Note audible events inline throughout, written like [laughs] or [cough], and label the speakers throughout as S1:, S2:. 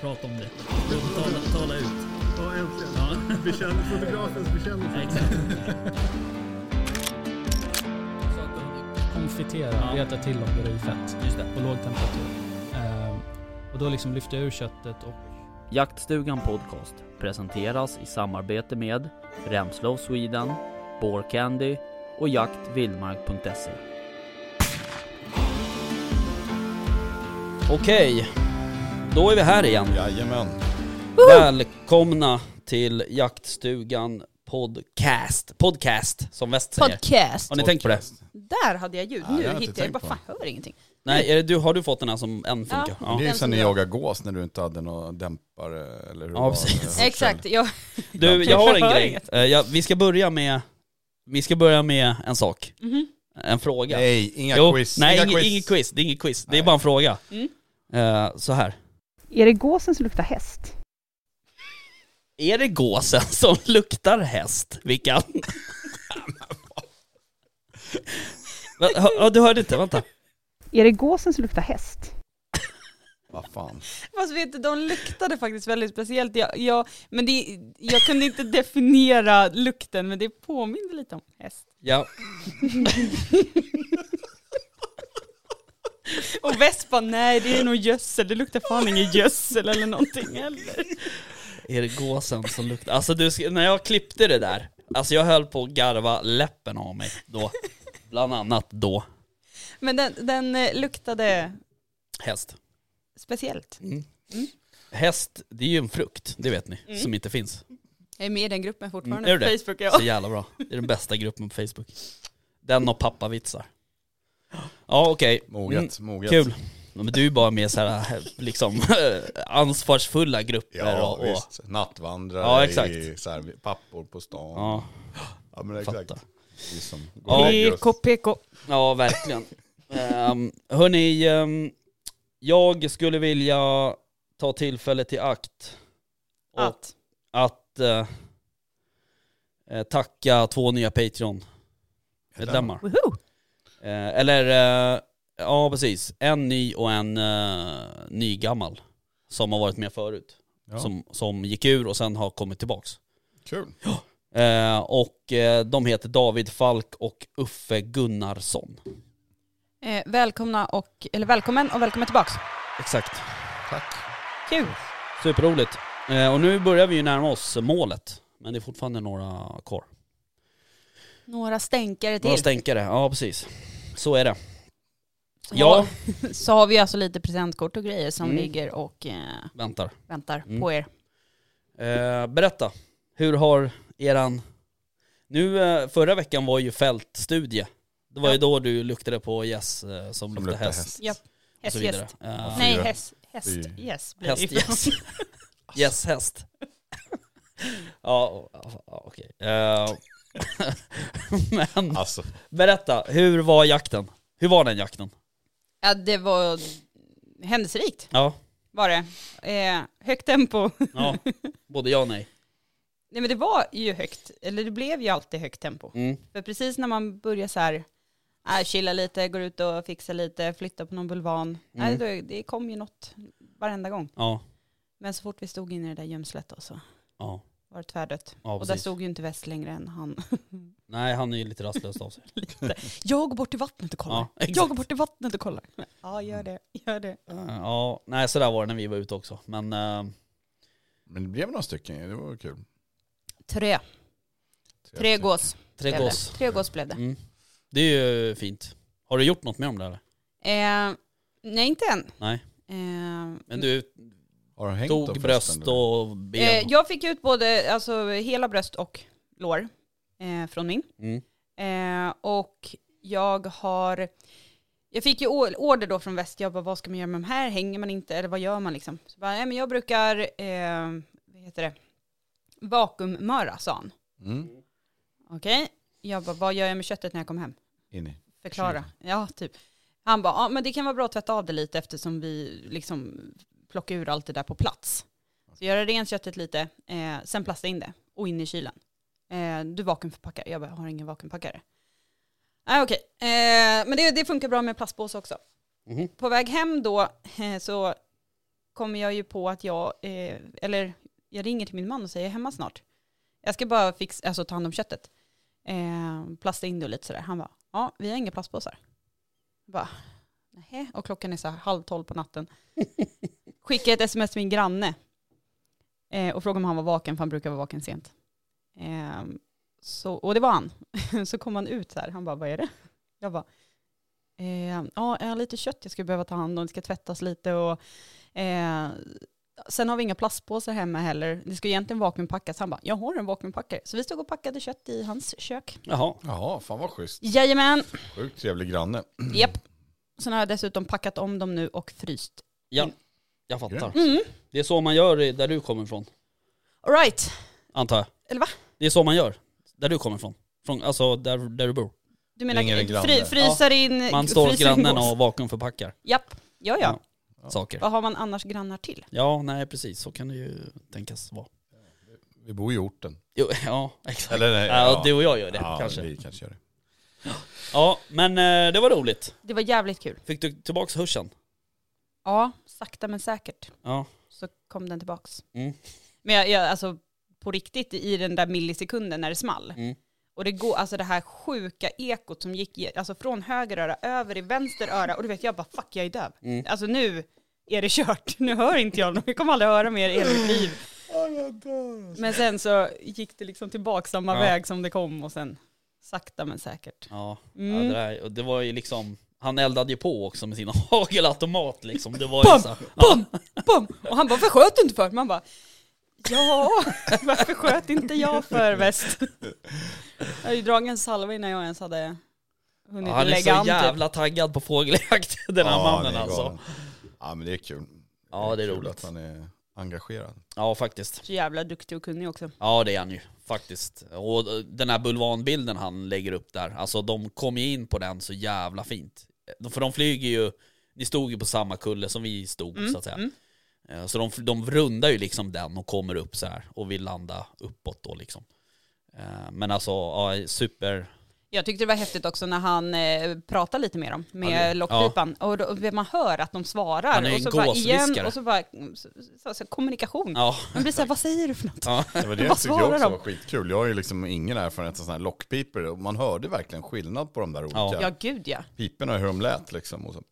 S1: prata om det. Tala, tala ut.
S2: Ja, äntligen.
S1: Ja.
S2: Bekänn, fotografens bekännelse.
S1: Exakt.
S3: Konfitera,
S1: Ja.
S3: reta till dem det i fett
S1: Just det.
S3: på låg temperatur. Ehm, och då liksom lyfta ur köttet och
S4: Jaktstugan Podcast presenteras i samarbete med Remslow Sweden, Candy och jaktvildmark.se. Okej, då är vi här igen.
S5: Jajamän.
S4: Välkomna till Jaktstugan Podcast. Podcast, som väst säger.
S6: Podcast.
S4: Har ni tänkt på det?
S5: Podcast.
S6: Där hade jag ljud.
S5: Ja,
S6: nu
S5: det har jag inte
S6: hittar
S5: tänkt
S6: jag, bara
S5: på.
S6: fan hör ingenting.
S4: Nej, är det du, har du fått den här som en funkar?
S6: Ja.
S4: Ja.
S5: Det är ju
S6: Den
S5: sen ni
S6: som jag-
S5: jagade gås när du inte hade någon dämpare eller hur
S4: Ja,
S5: var det?
S4: precis.
S5: Hörsel.
S6: Exakt, jag,
S4: Du, jag har en
S6: Jag hör
S4: grej.
S6: inget.
S4: Eh, jag- Vi ska börja med, vi ska börja med en sak.
S6: Mhm.
S4: En fråga.
S5: Nej, inga quiz.
S4: Nej,
S5: inga
S4: inget quiz. Inget quiz. Det är inget quiz. Det är
S5: Nej.
S4: bara en fråga.
S6: Mm.
S4: Eh, så här.
S7: Är det gåsen som luktar häst?
S4: Är det gåsen [laughs] som luktar häst, Vickan? [laughs] Va, hö- ja, du hörde inte, vänta.
S7: Är det gåsen som luktar häst?
S5: Vad fan.
S6: fast vet du, de luktade faktiskt väldigt speciellt. Jag, jag, men det, jag kunde inte definiera lukten, men det påminde lite om häst.
S4: Ja.
S6: Och vespa, nej det är nog gödsel, det luktar fan ingen gödsel eller någonting heller.
S4: Är det gåsen som luktar... Alltså du, ska- när jag klippte det där, alltså jag höll på att garva läppen av mig då. Bland annat då,
S6: Men den, den eh, luktade
S4: häst.
S6: speciellt.
S4: Häst, det är ju en frukt, det vet ni, som inte finns.
S6: Jag är med i den gruppen
S4: Mm,
S6: fortfarande
S4: är
S6: på
S4: du det?
S6: Facebook. Mm. Ja.
S4: Så jävla bra. Det är den bästa gruppen på Facebook. Den och pappavitsar. Ja okej.
S5: Moget, moget.
S4: Mm, Kul. Ja, Men du är bara med så här, [laughs] liksom ansvarsfulla grupper
S5: Ja,
S4: och, och
S5: visst. Nattvandrare
S4: Ja, exakt.
S5: i så här, pappor på stan. Ja,
S4: ja,
S5: men exakt.
S4: fatta.
S5: Det är som
S4: Ja.
S5: går i grus.
S6: PK.
S4: ja verkligen. um, hörni, ehm, jag skulle vilja ta tillfället i akt och att,
S6: Att.
S4: eh, eh, tacka två nya Patreon-medlemmar.
S6: Woho!
S4: Eh, eller, eh, ja precis. En ny och en eh, ny gammal Som har varit med förut.
S5: Ja.
S4: Som, som gick ur och sen har kommit tillbaks.
S5: Kul.
S4: Eh, och eh, de heter David Falk och Uffe Gunnarsson.
S6: Eh, välkomna och, eller välkommen och välkommen tillbaks.
S4: Exakt.
S5: Tack.
S6: Kul!
S4: Superroligt. Eh, och nu börjar vi ju närma oss målet. Men det är fortfarande några kvar.
S6: Några stänkare till.
S4: Några stänkare, ja precis. Så är det.
S6: Så-
S4: Ja,
S6: [laughs] Så har vi alltså lite presentkort och grejer som
S4: Mm.
S6: ligger och eh,
S4: väntar.
S6: väntar
S4: Mm.
S6: på er.
S4: Eh, berätta, hur har eran... Nu, eh, förra veckan var ju fältstudie. Det var ju då du luktade på gäss eh, som, luktade
S5: luktar
S4: häst.
S5: häst.
S6: Japp.
S4: Och så
S6: Häst,
S4: vidare.
S6: häst.
S4: Eh,
S6: Nej,
S5: Fyra.
S6: häst, häst,
S5: Fyra.
S6: yes. blir det
S4: häst,
S6: ibland.
S4: gäss. Gäss, [laughs] häst. ja, och- ja, okej. Eh, [laughs] men
S5: Alltså,
S4: berätta, hur var jakten? Hur var den jakten?
S6: [laughs] Ja, det var händelserikt
S4: Ja,
S6: var det. Eh, högt tempo. [laughs]
S4: ja. [laughs] både ja och nej.
S6: Nej men det var ju högt, eller det blev ju alltid högt tempo.
S4: Mm.
S6: För precis när man börjar så här, äh, chilla lite, går ut och fixar lite, flyttar på någon bulvan.
S4: Mm.
S6: Nej, då, det kom ju något varenda gång.
S4: Ja,
S6: Men så fort vi stod in i det där gömslet då, så
S4: ja,
S6: var det tvärdött.
S4: ja
S6: och där
S4: precis.
S6: stod ju inte väst längre än han.
S4: Nej, han är ju lite rastlös av sig.
S6: Jag går bort till vattnet och kollar.
S4: Ja, exakt.
S6: jag går bort till vattnet och kollar. Ja, gör det. Gör det.
S4: Eh, Ja, nej sådär var det när vi var ute också. Men eh,
S5: men det blev några stycken, det var kul.
S6: Tre. Tre gås.
S4: tre
S6: blev det.
S4: gås.
S6: Tre gås blev det.
S4: Mm. Det är ju fint. Har du gjort något med dem där eller?
S6: Eh, nej, inte än.
S4: Nej.
S6: Eh,
S4: Men du
S5: Har du hängt då
S4: tog
S5: förresten,
S4: bröst
S5: eller?
S4: och ben?
S6: eh, jag fick ut både alltså, hela bröst och lår eh, från min.
S4: Mm.
S6: Eh, och jag har, jag fick ju or- order då från väst, jag bara vad ska man göra med de här, hänger man inte eller vad gör man liksom? Så bara, nej men jag brukar, eh, vad heter det, vakuummöra sa han.
S5: Mm.
S6: Okej, jag bara vad gör jag med köttet när jag kommer hem?
S5: In i.
S6: Förklara. Ja, typ. Han bara, ja men det kan vara bra att tvätta av det lite eftersom vi liksom plockar ur allt det där på plats. Så göra rent köttet lite, eh, sen plasta in det och in i kylen. Eh, du vakuumförpackar. Jag bara, jag har ingen vakuumpackare. Ah, Okej, eh, men det, det funkar bra med plastpåse också.
S4: Mhm.
S6: På väg hem då eh, så kommer jag ju på att jag, eh, eller jag ringer till min man och säger jag är hemma snart. Jag ska bara fixa, alltså ta hand om köttet. Eh, plasta in det och lite sådär. Han bara, ja vi har inga plastpåsar. Jag bara, nej. Och klockan är så här halv tolv på natten. Skickar ett sms till min granne. Eh, och frågar om han var vaken, för han brukar vara vaken sent. Eh, så, och det var han. [laughs] så kom han ut så här, han bara, vad är det? Jag bara, eh, ja, jag har lite kött jag skulle behöva ta hand om, det ska tvättas lite och eh, sen har vi inga plastpåsar hemma heller. Det ska egentligen vakuumpackas. Han bara, jag har en vakuumpackare. Så vi stod och packade kött i hans kök.
S4: Jaha.
S5: Jaha, fan vad schysst.
S6: Jajamän,
S5: Sjukt trevlig granne.
S6: japp. Sen har jag dessutom packat om dem nu och fryst.
S4: Ja,
S6: Mm.
S4: jag fattar.
S5: Grymt.
S6: Mm.
S4: Det är så man gör i- där du kommer ifrån,
S6: All right.
S4: antar jag.
S6: Eller va?
S4: Det är så man gör, där du kommer ifrån. Från, alltså där, där du bor.
S6: Du menar
S5: Ringer en granne.
S6: fry, frysar in...
S4: Man står hos
S6: fryser in
S4: grannen
S6: gås.
S4: och vakuumförpackar
S6: Japp, ja ja.
S4: Ja. saker.
S6: Vad har man annars grannar till?
S4: Ja, nej precis, så kan det ju tänkas vara.
S5: Vi bor i orten.
S4: Jo, [laughs] ja, exakt.
S5: Eller nej,
S4: ja,
S5: ja.
S4: Du och jag gör det
S5: ja,
S4: kanske.
S5: vi kanske gör det.
S4: Ja, men eh, det var roligt.
S6: Det var jävligt kul.
S4: Fick du tillbaks hörseln?
S6: Ja, sakta men säkert
S4: Ja.
S6: så kom den tillbaks.
S4: Mm.
S6: Men jag, jag, alltså på riktigt i den där millisekunden när det small.
S4: Mm.
S6: Och det går, alltså det här sjuka ekot som gick i- alltså från höger öra över i vänster öra och du vet jag bara fuck jag är döv.
S4: Mm.
S6: Alltså nu är det kört, nu hör inte jag något, jag kommer aldrig höra mer i hela mitt liv. Men sen så gick det liksom tillbaka samma
S4: Ja.
S6: väg som det kom och sen sakta men säkert.
S4: Ja, ja
S6: Mm.
S4: det, där, och det var ju liksom, han eldade ju på också med sin [laughs] hagelautomat liksom. Det var ju så,
S6: Bom, bom. Och han bara, varför sköt du inte för? Man bara, ja, [laughs] varför sköt inte jag för väst? Jag hade ju dragit en salva innan jag ens hade hunnit
S4: ja, han är så
S6: lägga an. Typ.
S4: jävla taggad på fågeljakt [laughs] den här mannen
S5: det är
S4: alltså.
S5: galen. Ja men det är kul.
S4: Ja det är
S5: kul
S4: roligt.
S5: att han är engagerad.
S4: Ja faktiskt.
S6: Så jävla duktig och kunnig också.
S4: Ja det är han ju faktiskt. Och eh, den här bulvanbilden han lägger upp där, alltså de kom ju in på den så jävla fint. Eh, För de flyger ju, ni stod ju på samma kulle som vi stod så att säga. Eh, Så de, de rundar ju liksom den och kommer upp så här och vill landa uppåt då liksom. Eh, Men alltså, ja, super...
S6: Jag tyckte det var häftigt också när han eh, pratade lite med dem,
S4: Ja, det-
S6: med lockpipan. Och då, man hör att de svarar.
S4: Han är
S6: och
S4: en
S6: så bara igen,
S4: gåsviskare.
S6: och så bara, så, så, så, kommunikation.
S4: Ja, [laughs]
S6: Man blir såhär, vad säger du för något?
S4: ja.
S5: Det var det
S6: Vad
S5: jag tyckte
S6: svarar
S5: jag också
S6: de?
S5: var skitkul. Jag har ju liksom ingen erfarenhet av sådana här lockpipor. Och Man hörde verkligen skillnad på de där olika
S4: Ja.
S6: Ja, gud ja.
S5: piporna, hur de lät liksom. Och så.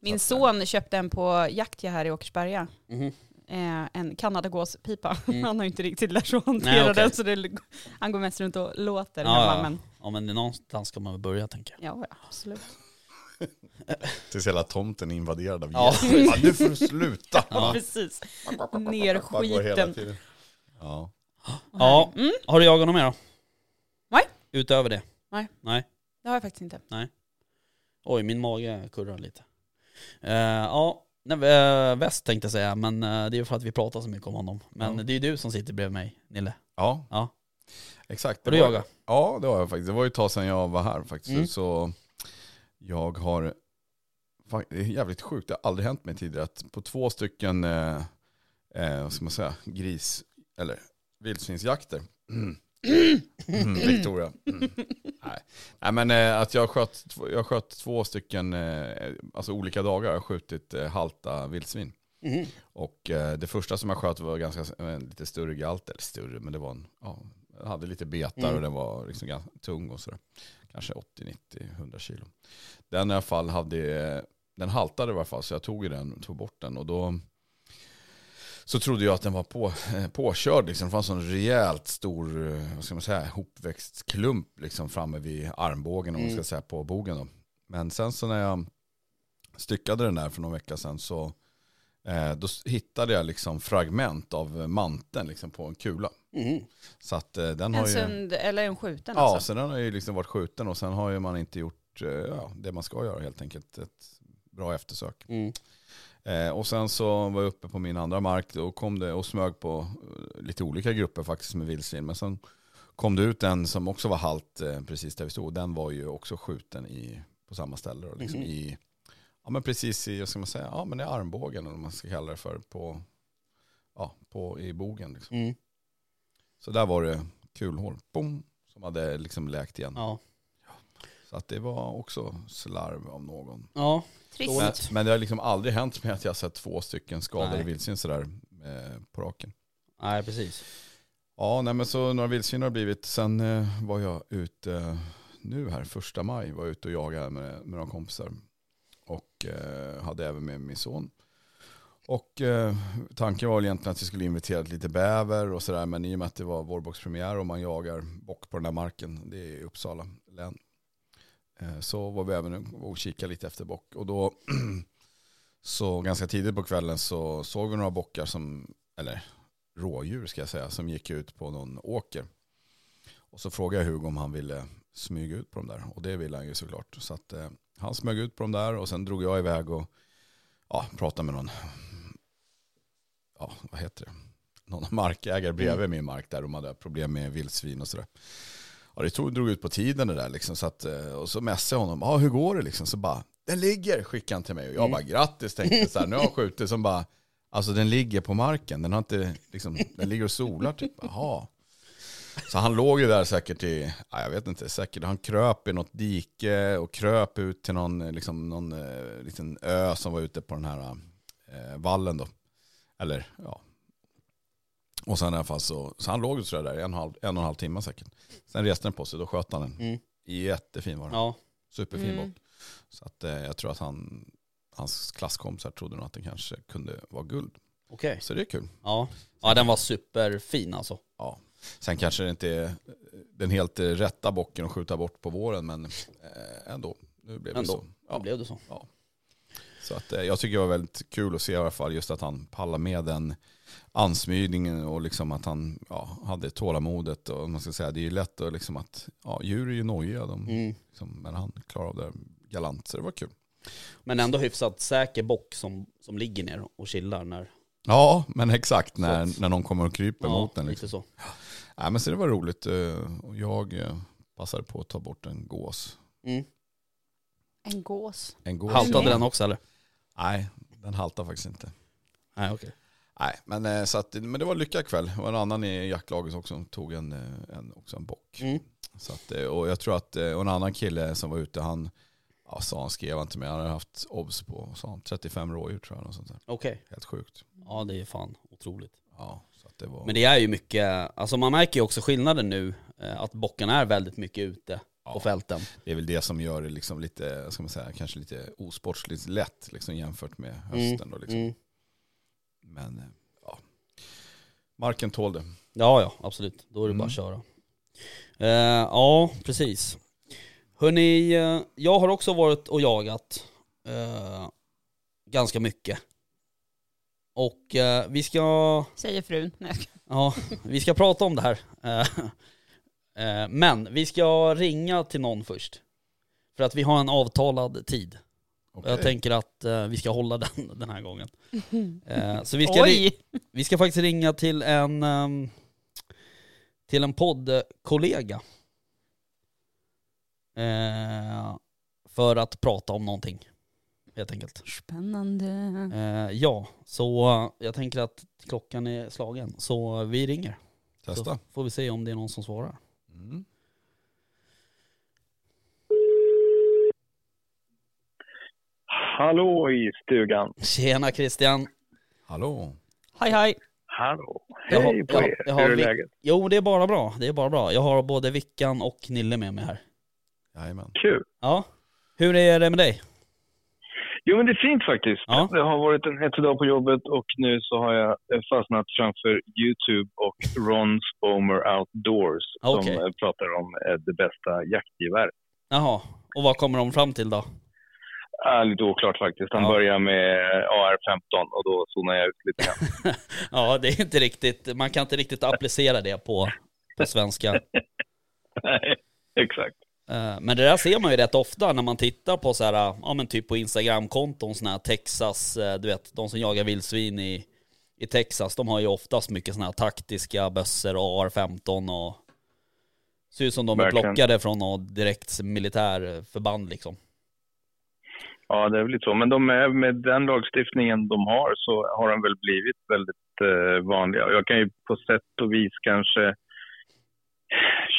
S6: Min
S5: Så
S6: son köpte en på Jaktja här i Åkersberga.
S4: Mhm.
S6: Eh, en kanadagåspipa. [laughs] Han har ju inte riktigt lärt sig att hantera
S4: Mm. Nej, okej.
S6: den så det, han går mest runt och låter
S4: Ja,
S6: hemma.
S4: ja.
S6: Men,
S4: ja men någonstans ska man väl börja tänker jag.
S6: ja, ja, absolut.
S5: Tills hela tomten är invaderad av
S4: Ja.
S5: gäster. Ja. Nu får du sluta.
S4: [laughs]
S6: [laughs] Ja. Precis. Ner
S5: Bara går hela
S6: skiten.
S5: tiden. Ja.
S4: Ja,
S6: Mm,
S4: har du jagat något mer då?
S6: Nej.
S4: Utöver det?
S6: Nej.
S4: Nej.
S6: Det har jag faktiskt inte.
S4: Oj, min mage kurrar lite. Eh, ja, nej, eh, väst tänkte jag säga, men eh, det är för att vi pratar så mycket om honom. Men
S5: Ja.
S4: det är ju du som sitter bredvid mig, Nille.
S5: Ja.
S4: Ja.
S5: Exakt.
S4: Har du
S5: Det var-
S4: jagat?
S5: Ja, det har jag faktiskt. Det var ju ett tag sedan jag var här faktiskt.
S4: Mm.
S5: Så jag har, fan, det är jävligt sjukt, det har aldrig hänt mig tidigare att på två stycken, eh, eh, vad ska man säga, gris eller vildsvinsjakter. Mm.
S6: [clears throat]
S5: Mm, Victoria. Mm. Nej. Nej men eh, att jag sköt, två- jag sköt två stycken, eh, alltså olika dagar har jag skjutit eh, halta vildsvin.
S4: Mhm.
S5: Och eh, det första som jag sköt var ganska eh, lite större galt, eller större, men det var en, ja, den hade lite betar
S4: Mm.
S5: och den var liksom ganska tung och sådär. Kanske 80, 90, 100 kilo. Den i alla fall hade, eh, den haltade i alla fall så jag tog ju den och tog bort den och då så trodde jag att den var på, eh, påkörd liksom. Det fanns en rejält stor, eh, vad ska man säga, hopväxt klump liksom framme vid armbågen om man
S4: Mm.
S5: ska säga på bogen då. Men sen så när jag styckade den där för någon vecka sedan så eh, då s- hittade jag liksom fragment av eh, manteln liksom på en kula.
S4: Mhm.
S5: Så att eh, den har
S6: En
S5: ju...
S6: sund, eller en skjuten
S5: Ja,
S6: alltså.
S5: så den har ju liksom varit skjuten och sen har ju man inte gjort eh, ja, det man ska göra helt enkelt. Ett bra eftersök.
S4: Mm.
S5: Eh, och sen så var jag uppe på min andra mark då kom det och smög på eh, lite olika grupper faktiskt med vildsvin. Men sen kom det ut en som också var halt eh, precis där vi stod. Den var ju också skjuten i, på samma ställe. Då, liksom
S4: Mhm.
S5: i, ja men precis i, vad ska man säga, ja men i armbågen eller vad man ska kalla det för. På, ja, på, i bogen liksom.
S4: Mm.
S5: Så där var det kulhål, boom, som hade liksom läkt igen.
S4: Ja.
S5: Så att det var också slarv av någon.
S4: Ja,
S5: Men,
S6: Trist.
S5: men det har liksom aldrig hänt mig att jag har sett två stycken skadade
S4: Nej.
S5: vildsvin sådär eh, på raken.
S4: nej precis.
S5: Ja, nej, men så några vildsvin har det blivit. Sen eh, var jag ute eh, nu här, första maj, var jag ute och jagade med, med några kompisar. Och eh, hade även med min son. Och eh, tanken var väl egentligen att vi skulle invitera lite bäver och sådär. Men i och med att det var vårbockspremiär och man jagar bock på den här marken, det är i Uppsala län. Eh, så var vi även och kikade lite efter bock. Och då, [clears throat] så ganska tidigt på kvällen så såg vi några bockar som, eller rådjur ska jag säga, som gick ut på någon åker. Och så frågade jag Hugo om han ville smyga ut på dem där. Och det ville han ju såklart. Så att, eh, han smög ut på dem där och sen drog jag iväg och ja, pratade med någon, ja vad heter det, någon [laughs] markägare bredvid min mark där de hade problem med vildsvin och sådär. Ja, det tog, drog ut på tiden det där liksom. Så att, eh, och så messade jag honom, ja ah, hur går det liksom? Så bara, den ligger, skickade han till mig. Och jag bara grattis tänkte jag så här, nu har jag skjutit som bara, Alltså den ligger på marken, den, har inte, liksom, den ligger och solar typ. Jaha. Så han låg ju där säkert i, ja, jag vet inte, säkert, han kröp i något dike och kröp ut till någon, eh, liksom, någon eh, liten ö som var ute på den här eh, vallen då. Eller ja. Och sen i alla fall så, så han låg ju sådär där i en, halv, en och en halv timme säkert. Sen reste den på sig, då sköt han den.
S4: Mm.
S5: Jättefin var den,
S4: Ja,
S5: superfin
S6: Mm.
S5: bock. Så att, eh, jag tror att han, hans klasskompisar trodde nog att den kanske kunde vara guld.
S4: okej.
S5: Så det är kul.
S4: Ja. ja, den var superfin alltså.
S5: Sen kanske det inte är den helt eh, rätta bocken att skjuta bort på våren, men eh, ändå. Nu blev
S4: Ändå.
S5: det så.
S4: Då
S5: Ja.
S4: blev det så.
S5: Så att, eh, jag tycker det var väldigt kul att se i alla fall, just att han pallade med den ansmygningen och liksom att han ja, hade tålamodet. Och man ska säga, det är ju lätt att liksom att, ja, djur är ju nojiga, de,
S4: Mm.
S5: liksom, men han klarade av det galant, så det var kul.
S4: Men ändå hyfsat säker bock som, som ligger ner och chillar när...
S5: Ja, men exakt när, när någon kommer och kryper
S4: Ja,
S5: mot den. Liksom.
S4: lite så.
S5: Nej, men så det var roligt. eh, och Jag eh, passade på att ta bort en gås.
S4: Mm.
S6: En gås.
S5: En gås
S4: Haltade
S5: ja.
S4: den också eller?
S5: Nej, den haltar faktiskt inte.
S4: Nej okej.
S5: Nej, men, eh, så att, men det var en lyckad kväll. Det var en annan i jaktlaget också som tog en, eh, en, också en bock.
S4: Mm.
S5: Så att, eh, och jag tror att eh, och en annan kille som var ute, han ja, sa han skrev inte med, han hade haft obs på sa han, 35 rådjur tror jag. Något sånt där.
S4: Okej.
S5: Helt sjukt.
S4: Ja det är fan otroligt.
S5: Ja, så att det var,
S4: Men det är ju mycket, alltså man märker ju också skillnaden nu eh, att bockarna är väldigt mycket ute på
S5: Ja.
S4: fälten.
S5: det är väl det som gör det liksom lite, ska man säga, kanske lite osportsligt lätt liksom, jämfört med hösten. Då, liksom.
S4: Mm.
S5: Men eh, ja, marken tål det.
S4: Ja ja, absolut. Då är det bara att
S5: Mm.
S4: köra. Eh, ja, precis. Hörni, eh, jag har också varit och jagat eh, ganska mycket. Och eh, vi ska
S6: Säger frun. Nej, jag skojar.
S4: Ja, vi ska prata om det här. Eh, eh, Men vi ska ringa till någon först. För att vi har en avtalad tid. Och Jag
S5: Okej.
S4: tänker att eh, vi ska hålla [laughs] den den här gången. Eh, Så vi ska, ri-
S6: Oj!
S4: vi ska faktiskt ringa till en, ehm, till en poddkollega. Eh, För att prata om någonting, helt enkelt.
S6: Spännande.
S4: Eh, Ja, så eh, jag tänker att klockan är slagen, så vi ringer.
S5: Testa.
S4: Så får vi se om det är någon som svarar.
S5: Mm.
S8: Hallå i stugan.
S4: Tjena Christian!
S5: Hallå.
S6: Hej hej.
S8: Hallå.
S4: Jag har-
S8: Hej på
S4: jag-
S8: er.
S4: jag har
S8: Hur är
S4: vi-
S8: läget?
S4: Jo det är bara bra, det är bara bra. Jag har både Vickan och Nille med mig här.
S5: Jajamän.
S8: Kul.
S4: Ja. Hur är det med dig?
S8: Jo, men det är fint faktiskt.
S4: Ja.
S8: Det har varit en hetsig dag på jobbet och nu så har jag eh, fastnat framför YouTube och Ron Spomer Outdoors
S4: Ah, Okej.
S8: som eh, pratar om eh, det bästa jaktgeväret.
S4: Jaha, och vad kommer de fram till då?
S8: Äh, lite oklart faktiskt. Han
S4: Ja.
S8: börjar med AR-15 och då zonar jag ut lite
S4: [laughs]
S8: grann.
S4: Ja det är inte riktigt, man kan inte riktigt applicera det på, på svenska.
S8: Nej, Exakt.
S4: Eh, Men det där ser man ju rätt ofta när man tittar på så här, ja men typ på Instagramkonton sådana här Texas, eh, du vet de som jagar vildsvin i, i Texas, de har ju oftast mycket sådana här taktiska bössor och AR-15 och ser ut som de är
S8: Verkligen.
S4: plockade från något direkt militärförband liksom.
S8: Ja, det är väl lite så. Men de är, med den lagstiftningen de har så har de väl blivit väldigt eh, vanliga. Och Jag kan ju på sätt och vis kanske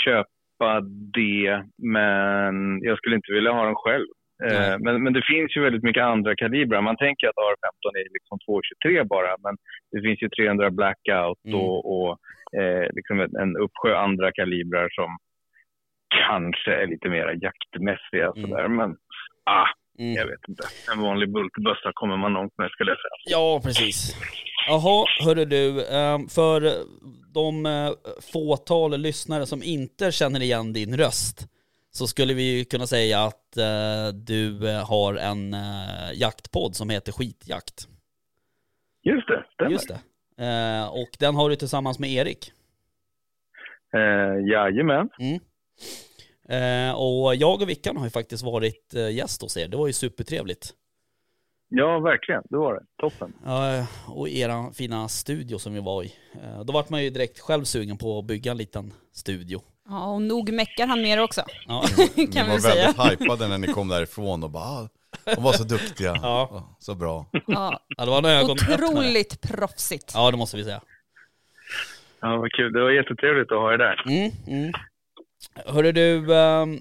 S8: köpa köpa det, men jag skulle inte vilja ha den själv. Eh,
S4: Nej.
S8: Men, men det finns ju väldigt mycket andra kalibrar. Man tänker att AR-15 är liksom 223 bara, men det finns ju 300 Blackout
S4: Mm.
S8: och, och eh, liksom en, en uppsjö andra kalibrar som kanske är lite mer jaktmässiga
S4: Mm.
S8: sådär, men ah, jag
S4: Mm.
S8: vet inte. En vanlig bultbössa kommer man långt med skulle jag säga.
S4: Ja, precis. Jaha, hörru du. ehm, För de eh, fåtal lyssnare som inte känner igen din röst så skulle vi ju kunna säga att eh, du eh, har en eh, jaktpodd som heter Skitjakt.
S8: Just det, stämmer.
S4: Just det. Eh, Och den har du tillsammans med Erik. Mm.
S8: Eh, jajamän.
S4: Eh, Och jag och Vickan har ju faktiskt varit eh, gäst hos er. Det var ju supertrevligt.
S8: Ja, verkligen. Det var det. Toppen.
S4: Ja, och era fina studio som vi var i. Eh, Då vart man ju direkt själv sugen på att bygga en liten studio.
S6: Ja, och nog meckar han med det också, [laughs]
S4: Ja,
S5: Ni
S6: kan
S5: var
S6: vi säga.
S5: väldigt hypade när ni kom därifrån och bara, "Ah, de var så duktiga,
S4: [laughs] [laughs] Ja.
S5: så bra.
S4: [laughs]
S6: Ja,
S4: ja, det var en ögonöppnare.
S6: otroligt proffsigt.
S4: Ja, det måste vi säga.
S8: Ja, vad kul. Det var jättetrevligt att ha er där.
S4: Mm, mm. Hörru du, ehm,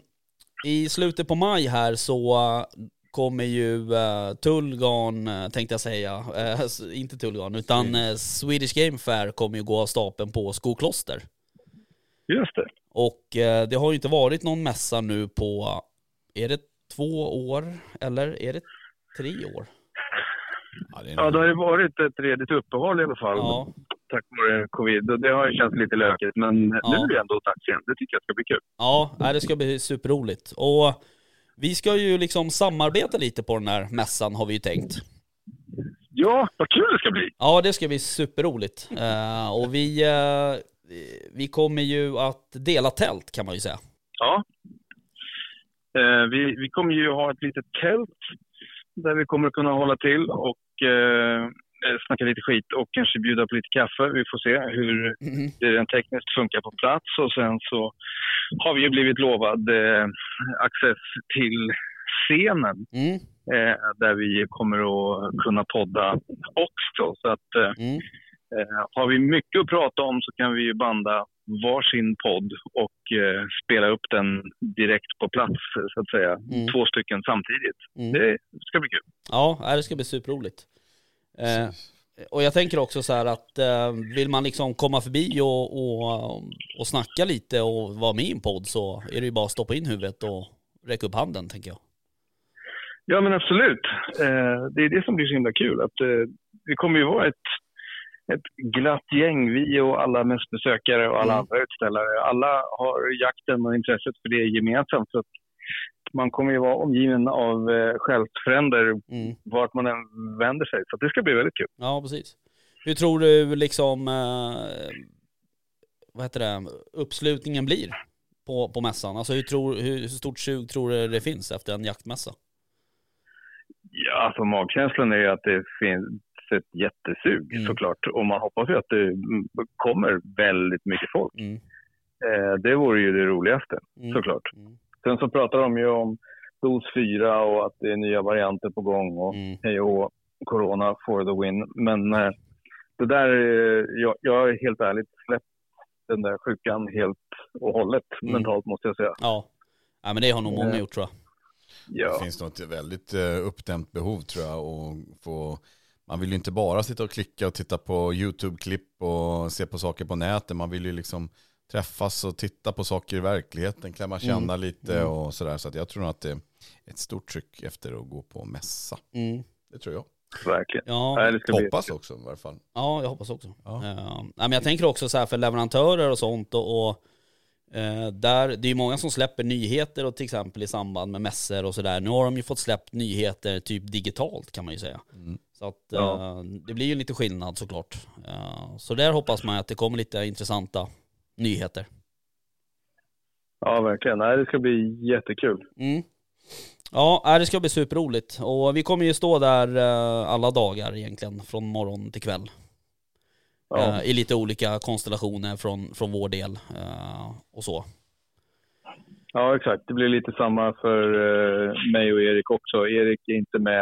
S4: i slutet på maj här så eh, kommer ju eh, Tullgarn, eh, tänkte jag säga, Eh, s- inte Tullgarn, utan eh, Swedish Game Fair kommer ju gå av stapeln på Skokloster.
S8: Just det.
S4: Och eh, det har ju inte varit någon mässa nu på, är det två år eller är det tre år?
S5: Ja, det är
S8: Ja, det har ju varit ett redigt uppehåll i alla fall,
S4: Ja,
S8: tack vare covid. Och det har ju känts lite lökigt, men nu
S4: Ja.
S8: är det ändå dags igen. Det tycker jag ska bli kul.
S4: ja nej, det ska bli superroligt. Och vi ska ju liksom samarbeta lite på den här mässan har vi ju tänkt.
S8: Ja, vad kul det ska bli!
S4: Ja, det ska bli superroligt. Eh, och vi, eh, vi kommer ju att dela tält kan man ju säga.
S8: Ja. Eh, vi, vi kommer ju ha ett litet tält där vi kommer kunna hålla till och eh, eh, snacka lite skit och kanske bjuda på lite kaffe. Vi får se hur det rent tekniskt funkar på plats och sen så har vi ju blivit lovad eh, access till scenen
S4: Mm,
S8: eh, där vi kommer att kunna podda också. Så att, eh,
S4: mm.
S8: eh, har vi mycket att prata om så kan vi ju banda varsin podd och eh, spela upp den direkt på plats, så att säga.
S4: Mm.
S8: Två stycken samtidigt.
S4: Mm.
S8: Det ska bli kul.
S4: Ja, nej, det ska bli superroligt. Eh, och jag tänker också så här att eh, vill man liksom komma förbi och, och, och snacka lite och vara med i en podd så är det ju bara att stoppa in huvudet och räcka upp handen tänker jag.
S8: Ja, men absolut. Eh, det är det som blir så himla kul. Att, eh, det kommer ju vara ett, ett glatt gäng, vi och alla mässbesökare och alla
S4: Mm.
S8: andra utställare. Alla har jakten och intresset för det gemensamt. Så att man kommer ju vara omgiven av eh, själsfränder
S4: Mm.
S8: vart man än vänder sig. Så att det ska bli väldigt kul.
S4: Ja, precis. Hur tror du liksom, eh, vad heter det, uppslutningen blir på, på mässan? Alltså hur, tror, hur, hur stort sug tror du det finns efter en jaktmässa?
S8: Ja, alltså magkänslan är ju att det finns ett jättesug
S4: Mm.
S8: såklart. Och man hoppas ju att det mm, kommer väldigt mycket folk.
S4: Mm.
S8: Eh, det vore ju det roligaste
S4: Mm.
S8: såklart.
S4: Mm.
S8: Sen så pratar de ju om dos 4 och att det är nya varianter på gång och
S4: Mm.
S8: hej och corona for the win. Men eh, det där, eh, jag, jag är helt ärligt släppt den där sjukan helt och hållet
S4: Mm.
S8: mentalt måste jag säga.
S4: Ja. ja, men det har nog många
S8: Eh.
S4: gjort tror jag.
S8: Ja,
S5: Det finns nog ett väldigt eh, uppdämt behov tror jag. Och få, man vill ju inte bara sitta och klicka och titta på YouTube-klipp och se på saker på nätet. Man vill ju liksom träffas och titta på saker i verkligheten, klämma känna lite
S4: Mm.
S5: och sådär. Så att jag tror nog att det är ett stort tryck efter att gå på mässa.
S4: Mm.
S5: Det tror jag.
S8: verkligen.
S4: Ja,
S8: Nej, det ska bli-
S5: Hoppas också i varje fall.
S4: ja, jag hoppas också.
S5: Ja.
S4: Eh, nej, men jag tänker också så här för leverantörer och sånt och, och eh, där, det är ju många som släpper nyheter och till exempel i samband med mässor och sådär. Nu har de ju fått släppt nyheter typ digitalt kan man ju säga.
S5: Mm.
S4: Så att
S8: Ja.
S4: eh, det blir ju lite skillnad såklart. Eh, så där hoppas man att det kommer lite intressanta nyheter.
S8: Ja, verkligen. Nej, det ska bli jättekul.
S4: Mm. Ja, nej, det ska bli superroligt. Och vi kommer ju stå där eh, alla dagar egentligen, från morgon till kväll.
S8: Ja.
S4: Eh, I lite olika konstellationer från, från vår del eh, och så.
S8: Ja, exakt. Det blir lite samma för eh, mig och Erik också. Erik är inte med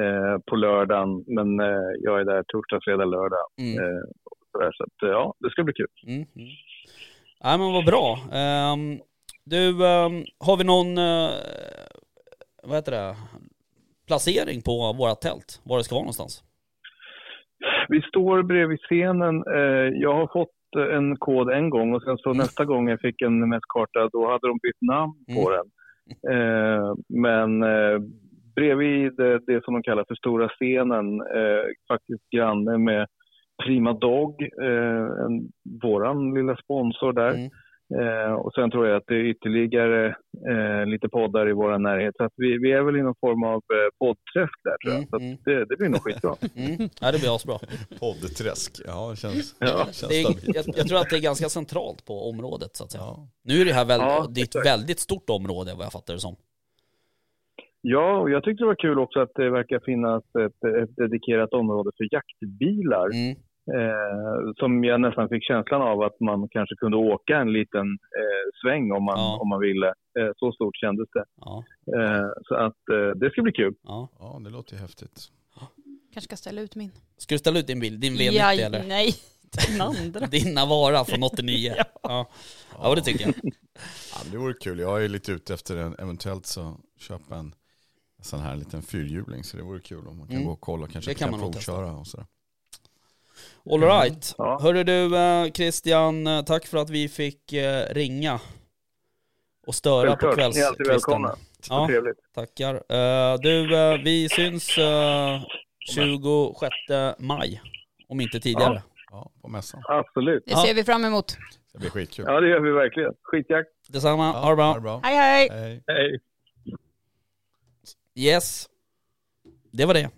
S8: eh, på lördagen, men eh, jag är där torsdag, fredag, lördag.
S4: Mm.
S8: Eh, och sådär. så att, eh, ja, det ska bli kul.
S4: Mm. Mm. Nej men vad bra. Ehm, Du, ehm, har vi någon, eh, vad heter det, placering på våra tält? Var det ska vara någonstans?
S8: Vi står bredvid scenen. Eh, Jag har fått en kod en gång och sen så
S4: Mm.
S8: nästa gång jag fick en mässkarta då hade de bytt namn
S4: Mm.
S8: på den. Eh, Men eh, bredvid det, det som de kallar för stora scenen, eh, faktiskt granne med Prima Dog, eh, en, våran lilla sponsor där.
S4: Mm.
S8: Eh, och sen tror jag att det är ytterligare eh, lite poddar i vår närhet. Så att vi, vi är väl i någon form av eh, poddträsk där tror jag.
S4: Mm,
S8: Så
S4: mm.
S8: att det, det blir nog skitbra.
S4: Mm. Ja, det blir asbra.
S5: Poddträsk. Ja, det känns,
S8: Ja,
S5: känns
S4: Det är,
S5: stabilt.
S4: jag, jag tror att det är ganska centralt på området så att säga.
S5: Ja.
S4: Nu är det här väl,
S8: Ja,
S4: det är ett
S8: exakt.
S4: väldigt stort område vad jag fattar det som.
S8: Ja, och jag tyckte det var kul också att det verkar finnas ett, ett dedikerat område för jaktbilar.
S4: Mm.
S8: Eh, som jag nästan fick känslan av att man kanske kunde åka en liten eh, sväng om man,
S4: Ja.
S8: om man ville. Eh, så stort kändes det.
S4: Ja,
S8: Eh, så att eh, det ska bli kul.
S4: ja.
S5: ja, det låter ju häftigt.
S6: Kanske ska ställa ut min.
S4: Ska du ställa ut din bild, din V90
S6: Ja,
S4: eller?
S6: nej, [laughs] den andra.
S4: Din Navara från 89? ja. Ja. det tycker jag.
S8: [laughs]
S5: Ja, men det vore kul. Jag är lite ute efter en, eventuellt så köpa en sån här liten fyrhjuling. Så det vore kul om man kan
S4: Mm.
S5: gå och kolla och kanske
S4: Det kan
S5: kan,
S4: man nog testa.
S5: provköra och sådär.
S4: All right.
S8: Ja.
S4: Hörru du eh, Christian, eh, tack för att vi fick eh, ringa och störa på
S8: Självklart. Ni är alltid
S4: kvällskvisten.
S8: välkomna.
S4: Ja.
S8: Trevligt.
S4: Tackar. Eh, du, eh, vi syns eh, 26 maj, om inte tidigare.
S5: Ja, på mässan.
S8: Absolut.
S6: Det
S4: Ja.
S6: ser vi fram emot.
S5: Det blir skitkul.
S8: Ja, det gör vi verkligen. Skitjakt.
S4: Detsamma, ha det bra.
S6: Hej hej!
S5: Hej.
S8: Hej.
S4: Yes. Det var det.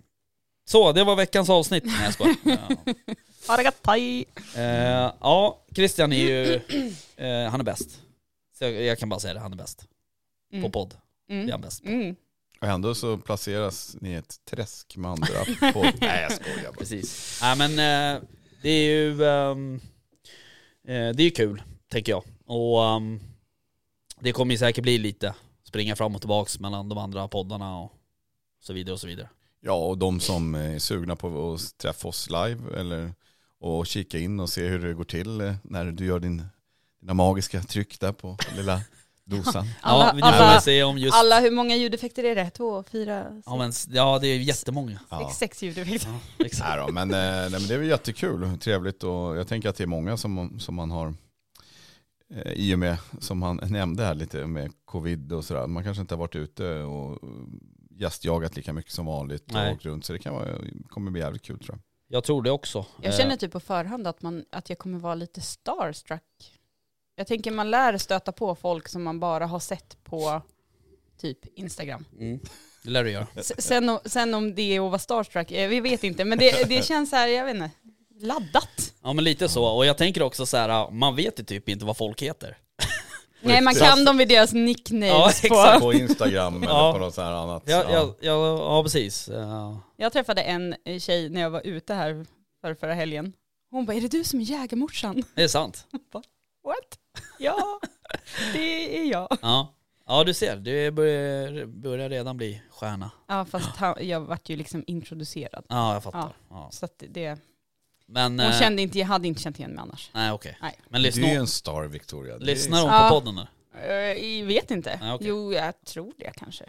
S4: Så, det var veckans avsnitt. Nej
S8: [laughs]
S4: jag skojar. ja.
S6: Ha det gott, hej!
S4: Eh, ja, Christian är ju, eh, han är bäst. Så jag, jag kan bara säga det, han är bäst. På
S6: Mm.
S4: podd, det är
S6: Mm.
S4: han bäst.
S6: Mm.
S5: Och ändå så placeras ni i ett träsk
S4: [laughs]
S5: med andra på... Nej, jag skojar bara.
S4: Precis. Nej men eh, det är ju ehm, eh, det är ju kul, tänker jag. Och ehm, det kommer ju säkert bli lite springa fram och tillbaks mellan de andra poddarna och så vidare och så vidare.
S5: Ja, och de som är sugna på att träffa oss live eller och kika in och se hur det går till eh, när du gör din, dina magiska tryck där på
S4: [laughs]
S5: lilla dosan.
S4: ja,
S6: Alla,
S4: vi får väl
S6: alla,
S4: se om just...
S6: alla, hur många ljudeffekter är det? Två, fyra,
S4: Ja, men, ja det är ju jättemånga.
S5: Ja.
S6: sex, sex ljudeffekter.
S4: Ja, exakt.
S5: Nej då, men, eh, nej, men det är väl jättekul och trevligt och jag tänker att det är många som, som man har eh, i och med, som han nämnde här lite med covid och sådär, man kanske inte har varit ute och gästjagat lika mycket som vanligt
S4: Nej.
S5: och åkt runt så det kan vara, kommer bli jävligt kul tror jag.
S4: Jag tror det också.
S6: Jag känner typ på förhand att, man, att jag kommer vara lite starstruck. Jag tänker man lär stöta på folk som man bara har sett på typ Instagram.
S4: Eh, mm, det lär du göra.
S6: S- Sen, o- sen om det är att vara starstruck, eh, vi vet inte. Men det, det känns så här, jag vet inte, laddat.
S4: Ja men lite så, och jag tänker också så här, man vet ju typ inte vad folk heter.
S6: Nej, man kan dem vid deras nicknames
S4: Ja,
S6: på.
S4: exakt.
S5: På Instagram
S4: [laughs]
S5: eller
S4: Ja.
S5: på något sånt här annat.
S4: Ja, ja. ja, ja precis. Eh,
S6: Jag träffade en eh, tjej när jag var ute här för förra helgen. Hon bara, är det du som är jägarmorsan?
S4: Det är sant.
S6: What? Ja, det är jag.
S4: Ja, ja du ser, du börjar, börjar redan bli stjärna.
S6: Ja, fast han, jag vart ju liksom introducerad.
S4: Ja, jag fattar. Ja.
S6: Så att det,
S4: Men,
S6: hon
S4: eh,
S6: kände inte, jag hade inte känt igen mig annars.
S4: nej okej.
S6: Nej.
S4: Men
S5: Du är ju
S4: lyssnar,
S5: en star Victoria. Det är-
S4: lyssnar hon
S6: Ja.
S4: på podden nu?
S6: Eh, Jag vet inte.
S4: Ja, okej.
S6: Jo, jag tror det kanske.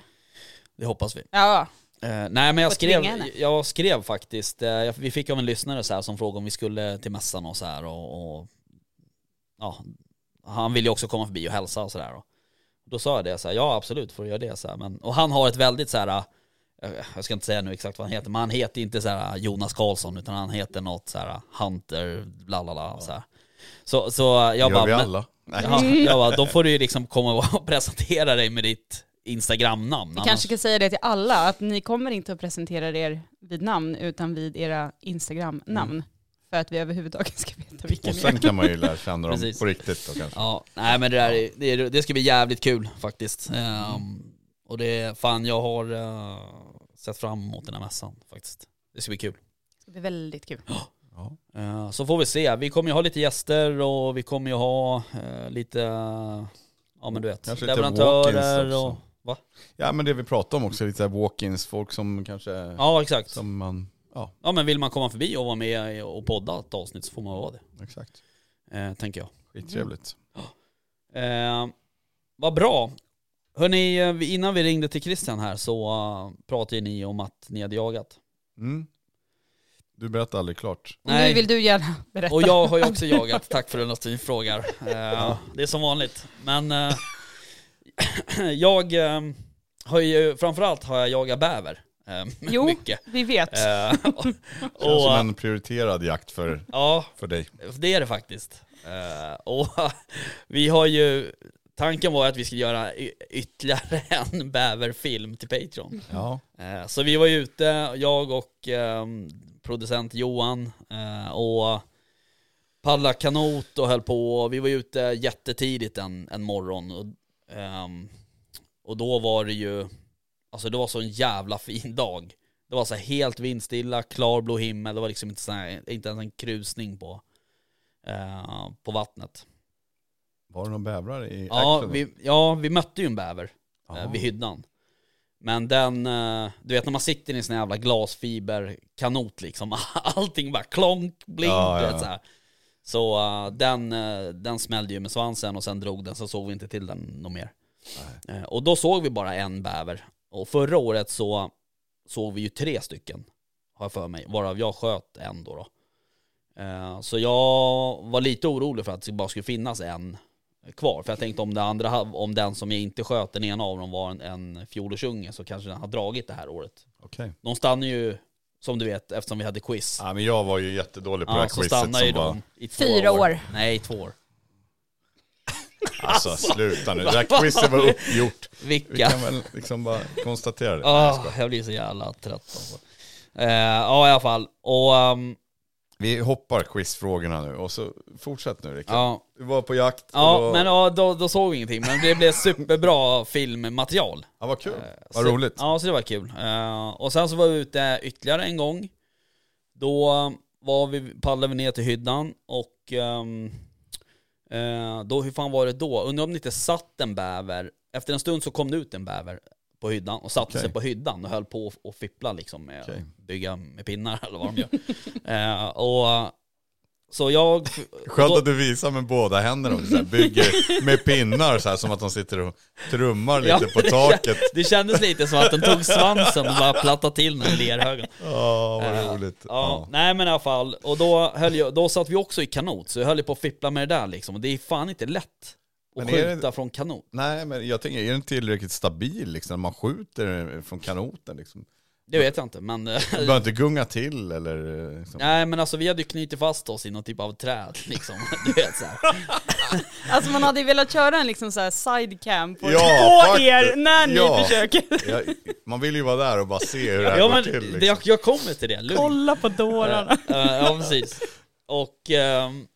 S4: Det hoppas vi.
S6: Ja,
S4: Eh, nej men jag
S6: Får tvinga
S4: skrev,
S6: henne.
S4: jag skrev faktiskt, eh, jag- vi fick av en lyssnare så här som frågade om vi skulle till mässan och så här och, och ja, han ville ju också komma förbi och hälsa och så där. Och då sa jag det så här, ja absolut får du göra det så här. Men, och han har ett väldigt så här, eh, jag ska inte säga nu exakt vad han heter, men han heter inte så här eh, Jonas Karlsson utan han heter något så här Hunter, bla bla bla så här. Så, så jag
S5: Det
S4: bara,
S5: gör vi
S4: men-
S5: alla. Nej.
S4: Ja, jag bara, då får du ju liksom komma och [laughs] presentera dig med ditt Instagram-namn.
S6: vi
S4: annars-
S6: kanske kan säga det till alla, att ni kommer inte att presentera er vid namn, utan vid era Instagram-namn.
S4: Mm.
S6: För att vi överhuvudtaget [laughs] ska veta vilka
S5: Och
S6: ni är.
S5: sen kan man ju lära känna dem
S4: Precis.
S5: på riktigt då kanske.
S4: Ja, nej men det där är, det, är- det ska bli jävligt kul faktiskt. Ehm, Och det, fan jag har eh, sett fram emot den här mässan faktiskt. Det ska bli kul.
S6: Det blir väldigt kul.
S5: Ja.
S4: Eh, Så får vi se, vi kommer ju ha lite gäster och vi kommer ju ha eh, lite, ja men du vet,
S5: Kanske lite walk-ins
S4: leverantörer och...
S5: också.
S4: Va?
S5: ja, men det vi pratade om också, lite så här walk-ins, folk som kanske,
S4: Ja exakt.
S5: som man, ja
S4: Ja men vill man komma förbi och vara med och podda ett avsnitt så får man vara det,
S5: exakt.
S4: eh, tänker jag.
S5: Skittrevligt.
S4: Eh, Vad bra. Hörni, eh, innan vi ringde till Christian här så eh, pratade ju ni om att ni hade jagat.
S5: Mm. Du berättar aldrig klart.
S6: Och nu vill du gärna [laughs] berätta.
S4: Och jag har ju
S6: [laughs]
S4: också jagat, tack för att du frågar. Eh, Det är som vanligt. Men eh, [clears throat] jag eh, har ju, framförallt har jag jagat bäver. eh,
S6: Jo.
S4: Mycket.
S6: Vi vet. [laughs]
S4: Eh,
S5: Det känns som
S4: och,
S5: en prioriterad jakt för,
S4: ja,
S5: för dig.
S4: det är det faktiskt. Eh, och [laughs] vi har ju, tanken var att vi skulle göra y- ytterligare [laughs] en bäverfilm till Patreon.
S5: Ja.
S4: Eh, Så vi var ju ute, jag och ehm, producent Johan eh, och paddla kanot och höll på. Vi var ju ute jättetidigt en, en morgon och, ehm, och då var det ju, alltså det var så en jävla fin dag. Det var så här helt vindstilla, klarblå himmel, det var liksom inte, så här, inte ens en krusning på, eh, på vattnet.
S5: Var det någon bävrar i
S4: Ja
S5: action?
S4: vi, ja, vi mötte ju en bäver
S5: Ja.
S4: eh, vid hyddan. Men den, eh, du vet när man sitter i en sån här jävla glasfiberkanot liksom, [laughs] allting bara klonk, blink,
S5: Ja,
S4: du vet
S5: ja, ja.
S4: så här. Så eh, den, eh, den smällde ju med svansen och sen drog den, så såg vi inte till den något mer. Eh, Och då såg vi bara en bäver. Och förra året så såg vi ju tre stycken, har jag för mig, varav jag sköt en då. då. Eh, Så jag var lite orolig för att det bara skulle finnas en kvar. För jag tänkte om, det andra, om den som jag inte sköt, den ena av dem var en, en fjolårsunge så kanske den har dragit det här året.
S5: Okej.
S4: De stannar ju, som du vet, eftersom vi hade quiz.
S5: Ja, men jag var ju jättedålig på det
S4: Ja,
S5: här
S4: så
S5: quizet som
S4: stannar ju
S5: var...
S4: de i två
S6: Fyra år.
S4: Nej, två år.
S5: [laughs] Alltså sluta nu, det här quizet var uppgjort. Vi
S4: Vilka?
S5: kan väl liksom bara konstatera det.
S4: Ah, jag blir så jävla trött alltså. Eh, Ja, i alla fall. Och, ehm,
S5: Vi hoppar quizfrågorna nu och så fortsätt nu Rickard.
S4: ja.
S5: Du var på jakt och
S4: Ja,
S5: då...
S4: men ja, då, då såg vi ingenting. Men det blev superbra [laughs] filmmaterial.
S5: ja, vad kul, vad
S4: Eh, så,
S5: roligt.
S4: Ja, så det var kul. Eh, och sen så var vi ute ytterligare en gång. Då var vi, paddlade vi ner till hyddan och ehm, eh, då, hur fan var det då? Undrar om det inte satt en bäver. Efter en stund så kom det ut en bäver på hyddan och satte
S5: Okej.
S4: sig på hyddan och höll på och- och fippla liksom med
S5: Okej.
S4: bygga med pinnar [laughs] eller vad de gör. Eh, och så jag...
S5: Skönt
S4: då-
S5: att du visar med båda händerna och så här bygger med pinnar så här som att de sitter och trummar lite
S4: Ja,
S5: på
S4: det
S5: taket.
S4: Det kändes lite som att den tog svansen och bara plattade till den i lerhögen.
S5: Ja,
S4: Eh,
S5: vad roligt.
S4: Ja, nej men i alla fall. Och då, höll jag, då satt vi också i kanot, så jag höll ju på att fippla med det där liksom. Och det är fan inte lätt att
S5: Men är det-
S4: skjuta från kanot.
S5: Nej, men jag tänker, är den tillräckligt stabil liksom? Man skjuter från kanoten liksom.
S4: Det vet jag inte, men... eh, [laughs]
S5: Du behöver inte gunga till eller eh, liksom.
S4: nej men alltså vi hade ju knutit fast oss i någon typ av träd liksom. [laughs] Du vet så här.
S6: Alltså man hade ju velat köra en liksom så här sidecam på,
S5: Ja,
S6: [laughs] på
S5: faktiskt.
S6: er när ni
S5: Ja.
S6: försöker.
S5: Jag, man vill ju vara där och bara se hur det här
S4: Ja
S5: går
S4: men
S5: till. Liksom.
S4: det, jag, jag kommer till det, lugn.
S6: Kolla på dårarna.
S4: Eh, eh, ja, precis. Och, ehm,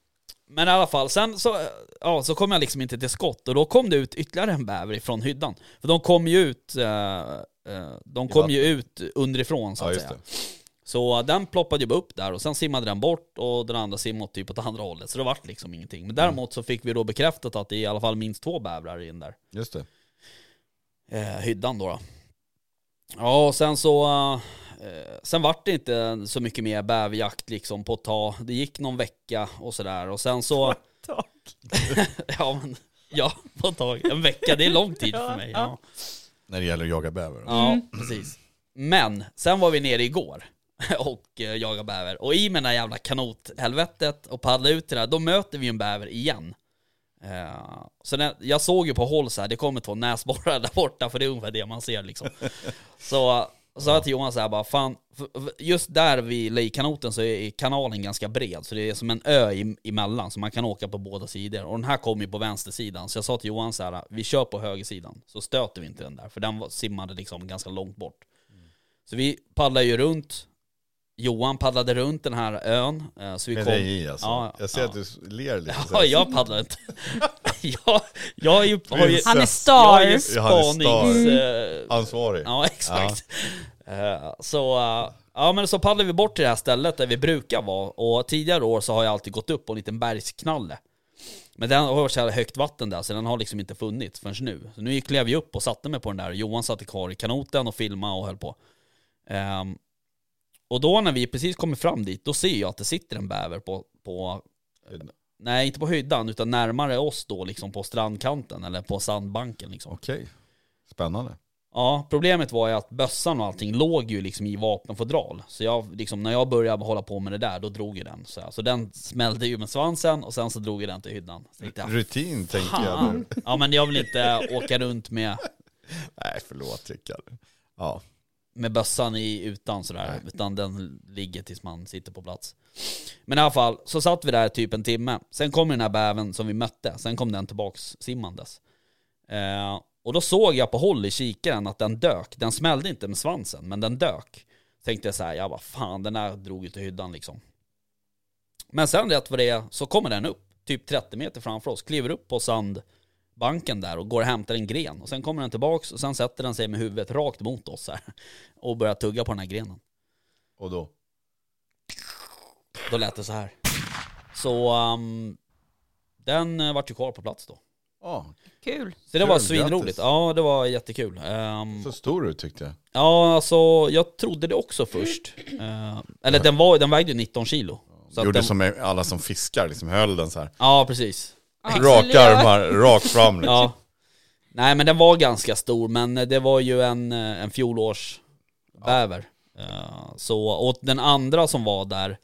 S4: men i alla fall, sen så, eh, ja, så kom jag liksom inte till skott och då kom det ut ytterligare en bäver från hyddan. För de kom ju ut, eh, eh, de kom ju ut underifrån så
S5: ja,
S4: att
S5: just
S4: säga.
S5: det.
S4: Så den ploppade ju bara upp där och sen simmade den bort och den andra simmade typ åt andra hållet. Så det vart liksom ingenting. Men däremot så fick vi då bekräftat att det är i alla fall minst två bävrar i den där
S5: Just det.
S4: eh, hyddan då. då. Ja, och sen så... Eh, sen vart det inte så mycket mer bäverjakt liksom på ett tag. Det gick någon vecka och sådär. Och sen så... [laughs] ja, men, ja, på ett tag. En vecka, det är lång tid för mig. Ja,
S5: När det gäller att jaga bäver.
S4: ja precis. Men sen var vi nere igår [laughs] och eh, jagade bäver. Och i med den här jävla kanothelvetet och paddla ut till det där, då möter vi en bäver igen. Eh, så när, jag såg ju på håll så här, det kommer två näsborrar [laughs] där borta, för det är ungefär det man ser liksom. Så så sa jag till Johan så här bara, fan, för- för- just där vid Lejkanoten så är kanalen ganska bred, så det är som en ö i- emellan, så man kan åka på båda sidor. Och den här kom ju på vänstersidan, så jag sa till Johan så här, vi kör på högersidan, så stöter vi inte den där, för den var- simmade liksom ganska långt bort. Så vi paddlade ju runt, Johan paddlade runt den här ön, eh, så vi
S5: Med
S4: kom...
S5: dig i alltså.
S4: Ja,
S5: jag ser
S4: ja.
S5: att du ler lite. så
S4: Ja, [laughs]
S5: här.
S4: jag paddlar inte. jag, jag är ju... Har ju
S6: Han är
S4: jag
S6: star.
S4: är ju
S5: Jag hade star.
S4: spanings... eh,
S5: Ansvarig.
S4: Ja, exakt. Eh, så, eh, ja, men så paddlar vi bort till det här stället där vi brukar vara. Och tidigare år så har jag alltid gått upp på en liten bergsknalle. Men den har varit så här högt vatten där, så den har liksom inte funnits förrän nu. Så nu gick- klev jag upp och satte mig på den där. Johan satt kvar i kanoten och filmade och höll på. Ehm, och då när vi precis kommer fram dit, då ser jag att det sitter en bäver på, på Nej, inte på höjdan, utan närmare oss då liksom på strandkanten eller på sandbanken liksom.
S5: Okej, spännande.
S4: Ja, problemet var ju att bössan och allting låg ju liksom i vapenfodral. Så jag, liksom, när jag började hålla på med det där, då drog ju den. Så, här. så den smällde ju med svansen och sen så drog ju den till hyddan. Så tänkte jag,
S5: Rutin tänker jag nu.
S4: fan. Ja men jag vill inte åka runt med,
S5: Nej, förlåt Rickard. Ja,
S4: med bössan i utan sådär. Utan den ligger tills man sitter på plats. Men i alla fall, så satt vi där typ en timme. Sen kom den här bäven som vi mötte. Sen kom den tillbaks simmandes. Eh, och då såg jag på håll i kikaren att den dök. Den smällde inte med svansen, men den dök. Tänkte jag så här, jag bara fan den här drog ju till hyddan liksom. Men sen rätt vad det är så kommer den upp, typ 30 meter framför oss, kliver upp på sandbanken där och går och hämtar en gren. Och sen kommer den tillbaks och sen sätter den sig med huvudet rakt mot oss här. [laughs] Och börjar tugga på den här grenen.
S5: och då?
S4: Då lät det så här. Så ehm, den eh, vart ju kvar på plats då.
S5: Ja,
S6: Kul.
S4: Så det var
S5: Kul,
S4: svinroligt.
S5: grattis.
S4: Ja, det var jättekul. Ehm,
S5: så stor ut tyckte jag.
S4: Ja, alltså jag trodde det också först. Eh, eller den, var, den vägde ju 19 kilo. Så att
S5: Gjorde
S4: den,
S5: som alla som fiskar, liksom höll den så här.
S4: Ja, precis.
S6: Ja,
S5: Raka
S6: Julia.
S5: armar, rakt fram
S4: [laughs]
S5: liksom.
S4: Ja. Nej, men den var ganska stor, men det var ju en, eh, en fjolårs bäver. Eh, så, och den andra som var där,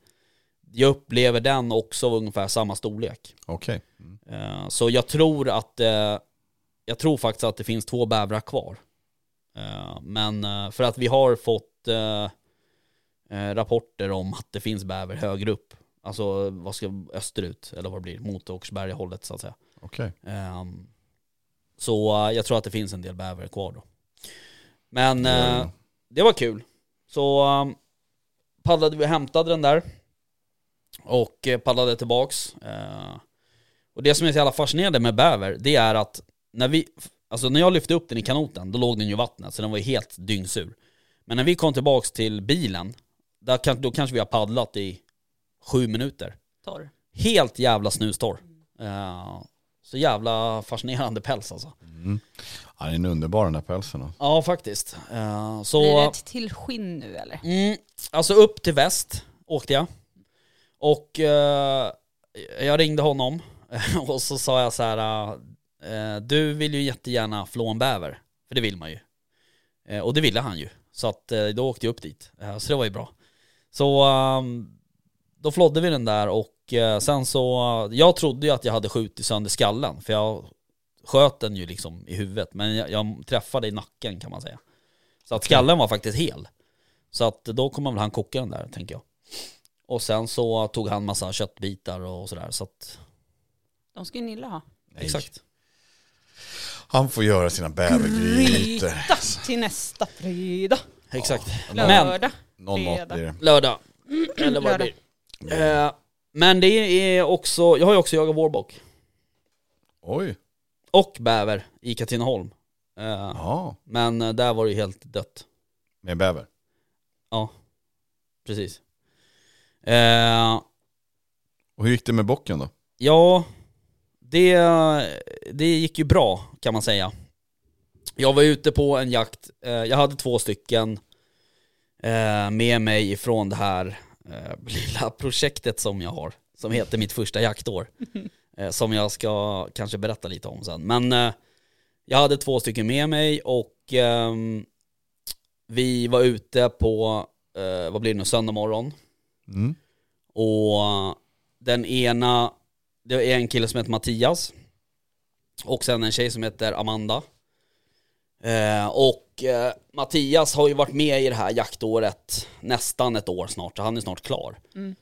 S4: jag upplever den också av ungefär samma storlek.
S5: Okej.
S4: Eh, Så jag tror att eh, Jag tror faktiskt att det finns två bävrar kvar. Eh, Men eh, för att vi har fått eh, eh, rapporter om att det finns bäver högre upp. Alltså vad ska, österut, eller vad det blir, mot Åkersberga-hållet så att säga.
S5: Okej.
S4: Ehm, Så eh, jag tror att det finns en del bäver kvar då. Men
S5: Ja,
S4: eh,
S5: ja.
S4: det var kul. Så um, paddlade vi och hämtade den där. Och eh, paddlade tillbaks. Eh, och det som är så jävla fascinerande med bäver, det är att när vi, alltså när jag lyfte upp den i kanoten, då låg den ju i vattnet, så den var ju helt dyngsur. Men när vi kom tillbaks till bilen, där, kan- då kanske vi har paddlat i sju minuter.
S6: Torr.
S4: Helt jävla snustorr. Eh, så jävla fascinerande päls alltså.
S5: Ja, den är underbar den där pälsen. alltså.
S4: Ja, faktiskt. Eh, så...
S6: Blir det ett till skinn nu eller?
S4: Mm, alltså upp till väst åkte jag. Och eh, jag ringde honom [laughs] och så sa jag så här, eh, du vill ju jättegärna flå en bäver, för det vill man ju. Eh, och det ville han ju, så att, eh, då åkte jag upp dit. Eh, så det var ju bra. Så eh, då flådde vi den där och eh, sen så, jag trodde ju att jag hade skjutit sönder skallen, för jag sköt den ju liksom i huvudet, men jag, jag träffade i nacken kan man säga. Så att skallen var faktiskt hel. Så att då kommer väl han koka den där, tänker jag. Och sen så tog han massa köttbitar och sådär, så att...
S6: De ska ju Nilla ha.
S5: Nej.
S4: Exakt.
S5: Han får göra sina bävergrytor.
S6: Gryta till nästa fredag.
S4: Exakt. Men,
S6: Lördag.
S5: Någon mat
S6: Fredag.
S5: blir det.
S4: lördag. Eller vad det blir. Eh, men det är också, jag har ju också jagat vårbock.
S5: Oj.
S4: Och bäver i Katrineholm. Eh,
S5: Ja,
S4: men eh, där var det ju helt dött.
S5: med bäver.
S4: Ja, precis. Eh,
S5: Och hur gick det med bocken då?
S4: Ja, det, det gick ju bra kan man säga. Jag var ute på en jakt, eh, jag hade två stycken eh, med mig ifrån det här eh, [laughs] lilla projektet som jag har, som heter mitt första jaktår, eh, som jag ska kanske berätta lite om sen. Men eh, jag hade två stycken med mig och ehm, vi var ute på, eh, vad blir det nu, söndag morgon.
S5: Mm.
S4: Och den ena, det är en kille som heter Mattias. Och sen en tjej som heter Amanda. Eh, och eh, Mattias har ju varit med i det här jaktåret nästan ett år snart, så han är snart klar.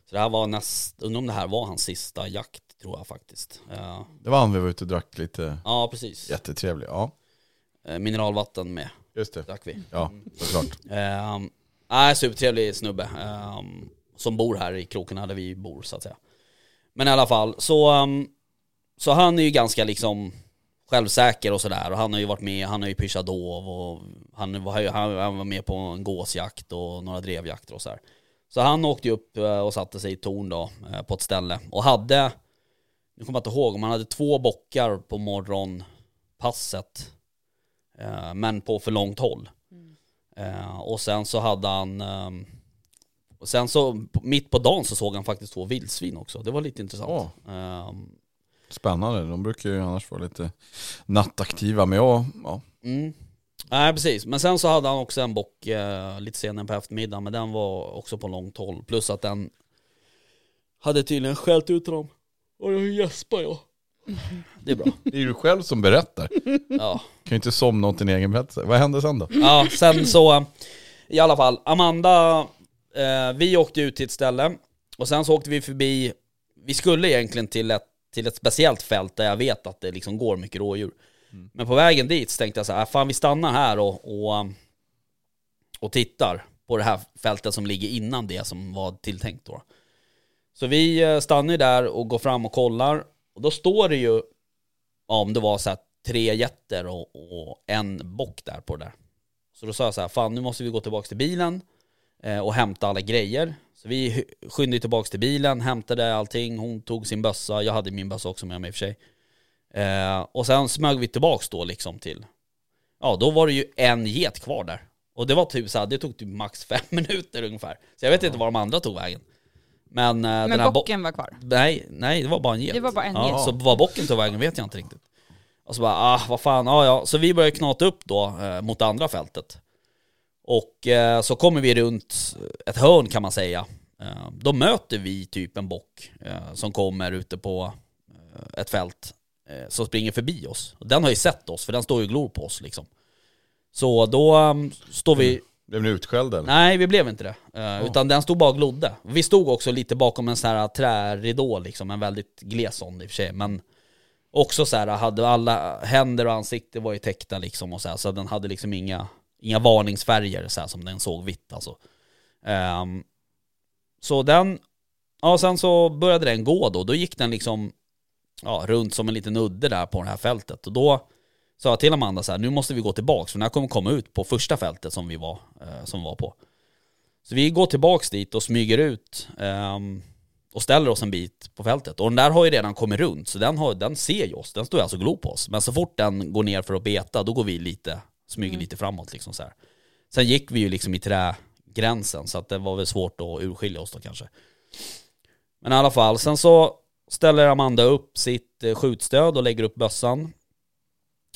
S4: Så det här var näst, undrar om det här var hans sista jakt tror jag faktiskt. Eh,
S5: Det var han vi var ute och drack lite
S4: ja, precis.
S5: jättetrevlig. Ja,
S4: Eh, mineralvatten med,
S5: just det.
S4: drack vi.
S5: Ja, såklart.
S4: Ehm, nej, supertrevlig snubbe. ehm, som bor här i krokarna där vi bor så att säga. Men i alla fall, så, ehm, så han är ju ganska liksom självsäker och sådär. Och han har ju varit med, han har ju pyschat dov och han var, ju- han han var med på en gåsjakt och några drevjakter och sådär. Så han åkte ju upp eh, och satte sig i ett torn då, eh, på ett ställe. Och hade, nu kommer jag inte ihåg, om han hade två bockar på morgonpasset. eh, Men på för långt håll. Eh, och sen så hade han ehm, Och sen så p- mitt på dagen så såg han faktiskt två vildsvin också. Det var lite intressant.
S5: Åh.
S4: Ehm,
S5: Spännande, de brukar ju annars vara lite nattaktiva. Men jag, ja,
S4: Mm. Nej precis, men sen så hade han också en bock eh, lite senare på eftermiddagen men den var också på långt håll plus att den hade tydligen skällt ut honom. Och jag gäspar jag. Det är bra.
S5: det är ju du själv som berättar.
S4: Ja.
S5: Kan ju inte somna åt din egen berättelse. Vad hände sen då?
S4: ja, sen så eh, i alla fall Amanda, eh, vi åkte ut till ett ställe och sen så åkte vi förbi, vi skulle egentligen till ett, till ett speciellt fält där jag vet att det liksom går mycket rådjur. Men på vägen dit så tänkte jag så här, "Äh, fan vi stannar här och, och, um, och tittar på det här fältet som ligger innan det som var tilltänkt då. Så vi eh, stannar ju där och går fram och kollar och då står det ju ja, om det var så här tre jätter och, och en bock där på det där. Så då sa jag så här, fan nu måste vi gå tillbaka till bilen eh, och hämta alla grejer. Så vi hy- skyndade tillbaka till bilen, hämtade allting, hon tog sin bössa, jag hade min bössa också med mig i och för sig. Eh, och sen smög vi tillbaka då liksom till, ja då var det ju en get kvar där. Och det var typ så här, det tog typ max fem [laughs] minuter ungefär. Så jag vet inte var de andra tog vägen. Men, eh, den här
S6: Men
S4: bo-
S6: bocken var kvar.
S4: Nej, nej det var bara en get.
S6: Det var bara en
S4: ja,
S6: get.
S4: Så var bocken tog vägen vet jag inte riktigt. Och så bara, ah vad fan, ja ja. Så vi började knata upp då eh, mot det andra fältet. Och eh, så kommer vi runt ett hörn kan man säga. Eh, då möter vi typ en bock eh, som kommer ute på eh, ett fält eh, som springer förbi oss. Och Den har ju sett oss för den står ju och glor på oss liksom. Så då ehm, står vi
S5: Blev ni utskällda eller?
S4: Nej, vi blev inte det. Eh, Utan den stod bara och glodde. Vi stod också lite bakom en sån här träridå, liksom, en väldigt gles sån i och för sig. Men också så här, hade alla händer och ansikte var ju täckta liksom och så här, så den hade liksom inga, inga varningsfärger så här som den såg vitt alltså. Ehm, så den, ja sen så började den gå då, då gick den liksom ja, runt som en liten udde där på det här fältet och då sa jag till Amanda så här, nu måste vi gå tillbaks för den här kommer komma ut på första fältet som vi var, eh, som vi var på. Så vi går tillbaks dit och smyger ut ehm, och ställer oss en bit på fältet. Och den där har ju redan kommit runt så den, har, den ser ju oss, den står ju alltså och glor på oss. Men så fort den går ner för att beta då går vi lite, smyger lite framåt liksom så här. Sen gick vi ju liksom i trägränsen så att det var väl svårt att urskilja oss då kanske. Men i alla fall, sen så ställer Amanda upp sitt eh, skjutstöd och lägger upp bössan.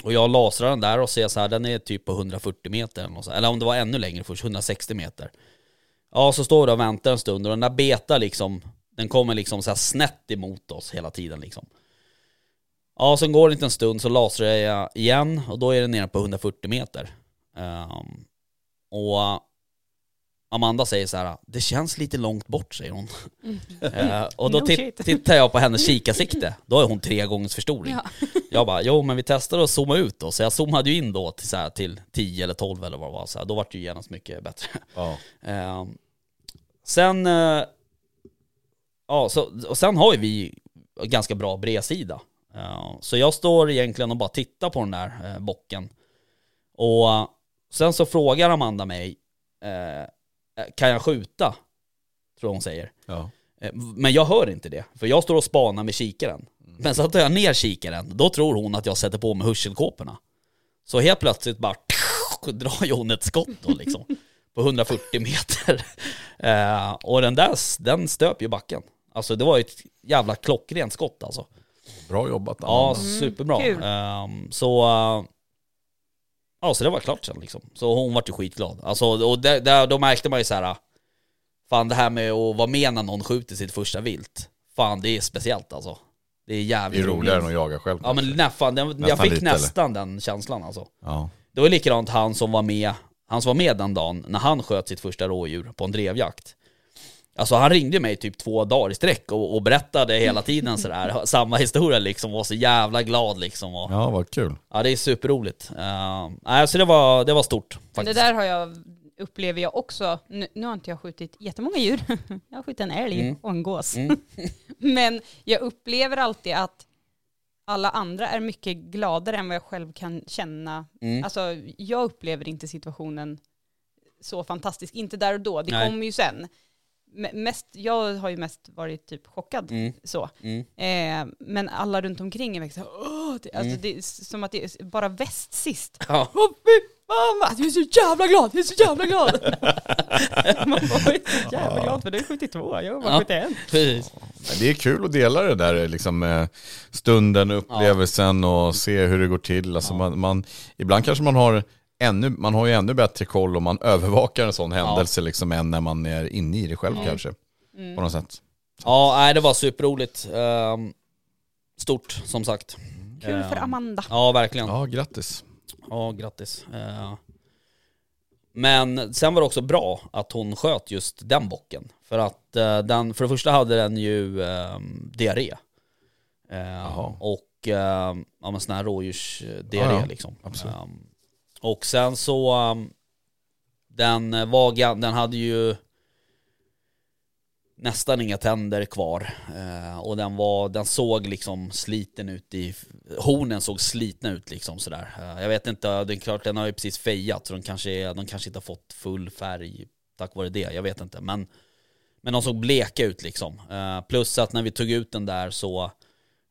S4: Och jag lasrar den där och ser så här, den är typ på 140 meter eller något så här. Eller om det var ännu längre först, 160 meter. Ja, så står vi där och väntar en stund och den där betar liksom, den kommer liksom så här snett emot oss hela tiden liksom. Ja, sen går det inte en stund så lasrar jag igen och då är den nere på 140 meter. Ehm, och Amanda säger så här, det känns lite långt bort säger hon. Eh, och då
S6: No
S4: tit-
S6: shit.
S4: tittar jag på hennes kikarsikte, då är hon tre gångers förstoring.
S6: Ja.
S4: Jag bara, jo men vi testade att zooma ut då, så jag zoomade ju in då till, så här, till 10 eller 12 eller vad det var, så här. då var det ju genast mycket bättre.
S5: Ja.
S4: Eh, sen, eh, ja, så, och sen har ju vi ganska bra bredsida. Eh, så jag står egentligen och bara tittar på den där eh, bocken. Och eh, sen så frågar Amanda mig, eh, kan jag skjuta? Tror jag hon säger.
S5: ja.
S4: Eh, Men jag hör inte det, för jag står och spanar med kikaren. Men så tar jag ner kikaren, då tror hon att jag sätter på mig hörselkåporna. Så helt plötsligt bara [laughs] drar ju hon ett skott då liksom. På 140 meter. Eh, och den där, den stöp ju backen. Alltså det var ju ett jävla klockrent skott alltså.
S5: Bra jobbat
S4: Ja,
S5: Amanda.
S4: superbra.
S6: kul.
S4: Ehm, så, eh, ja, så det var klart sen liksom. Så hon vart ju skitglad. Alltså, och där, där, då märkte man ju så här, fan det här med att vara med när någon skjuter sitt första vilt. Fan det är speciellt alltså. Det är
S5: Det är
S4: jävligt
S5: roligare än att jaga själv.
S4: Ja men nä, fan, den, jag
S5: Nästan
S4: fick
S5: lite, eller?
S4: nästan den känslan alltså.
S5: ja.
S4: Det var likadant han som var med, han som var med den dagen när han sköt sitt första rådjur på en drevjakt. Alltså han ringde mig typ två dagar i sträck och, och berättade hela tiden sådär, [laughs] samma historia liksom, var så jävla glad liksom. Och, ja.
S5: ja, vad kul.
S4: det är superroligt. Uh, nej, så det var, det var stort
S6: Men det
S4: faktiskt.
S6: där har jag, upplever jag också, nu, nu har inte jag skjutit jättemånga djur, [laughs] jag har skjutit en älg
S4: Mm.
S6: och en gås.
S4: Mm.
S6: [laughs]
S4: [laughs]
S6: Men jag upplever alltid att alla andra är mycket gladare än vad jag själv kan känna.
S4: Mm.
S6: Alltså jag upplever inte situationen så fantastisk, inte där och då, det
S4: Nej.
S6: kommer ju sen. Me- Mest, jag har ju mest varit typ chockad
S4: Mm.
S6: så.
S4: Mm.
S6: Eh, men alla runt omkring är verkligen så här, åh, det, alltså,
S4: Mm.
S6: det är s- som att det är s- bara väst sist.
S4: [laughs] Ja.
S6: Åh, fy Mamma, du är så jävla glad, du är så jävla
S5: [laughs]
S6: glad. Man var jävla glad för du är 72, jag var
S4: Ja.
S6: 71.
S4: Precis.
S5: Men Det är kul att dela det där, liksom, eh, stunden och upplevelsen och se hur det går till. Alltså man, man, ibland kanske man har, ännu, man har ju ännu bättre koll om man övervakar en sån händelse liksom, än när man är inne i det själv
S4: Mm.
S5: kanske. På något sätt.
S4: Ja, nej, det var superroligt. Ehm, stort, som sagt.
S6: Kul för
S4: Ehm,
S6: Amanda.
S4: Ja, verkligen.
S5: Ja, grattis.
S4: Ja, grattis. Eh, Men sen var det också bra att hon sköt just den bocken. För att eh, den, för det första hade den ju eh, diarré. Eh, Och eh, ja, men sån här rådjursdiarré
S5: Ja, ja.
S4: liksom.
S5: Absolut.
S4: Eh, och sen så, eh, den var, ga- den hade ju nästan inga tänder kvar. Eh, och den, var, den såg liksom sliten ut i, hornen såg slitna ut liksom sådär. Eh, jag vet inte, det är klart den har ju precis fejat så de kanske, är, de kanske inte har fått full färg tack vare det, jag vet inte. Men, men de såg bleka ut liksom. Eh, plus att när vi tog ut den där så,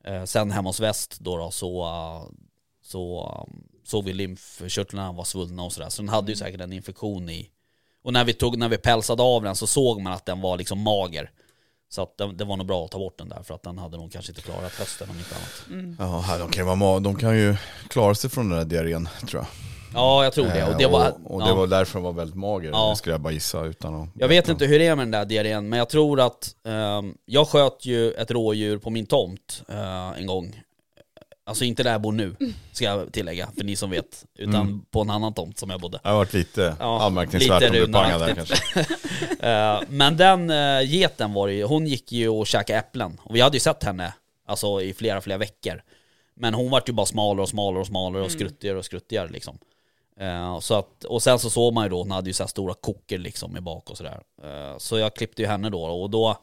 S4: eh, sen hemma hos väst då, då så, eh, så um, såg vi lymfkörtlarna var svullna och sådär. Så den hade
S5: Mm.
S4: ju säkert en infektion i, och när vi, tog, när vi pälsade av den så såg man att den var liksom mager. Så att det, det var nog bra att ta bort den där för att den hade nog kanske inte klarat hösten om inte annat.
S5: Ja, här, de, kan ju vara, ma- de kan ju klara sig från den där diarrén tror jag.
S4: Ja, jag tror det. Och det var,
S5: Eh, och, och det
S4: ja.
S5: var därför den var väldigt mager,
S4: Ja.
S5: skulle jag bara gissa. Utan att,
S4: Jag vet inte hur det är med den där diarrén, men jag tror att ehm, jag sköt ju ett rådjur på min tomt eh, en gång. Alltså inte där jag bor nu,
S5: Mm.
S4: ska jag tillägga, för ni som vet. Utan på en annan tomt som jag bodde.
S5: Det har varit lite
S4: Ja,
S5: anmärkningsvärt
S4: lite
S5: om du pangade där
S4: runaktigt.
S5: kanske.
S4: Eh, men den uh, geten var det ju, hon gick ju och käkade äpplen. Och vi hade ju sett henne alltså, i flera, flera veckor. Men hon vart ju bara smalare och smalare och smalare och skruttigare och skruttigare liksom. Eh, så att, och sen så såg man ju då, hon hade ju så här stora koker liksom i bak och sådär. Eh, så jag klippte ju henne då och då,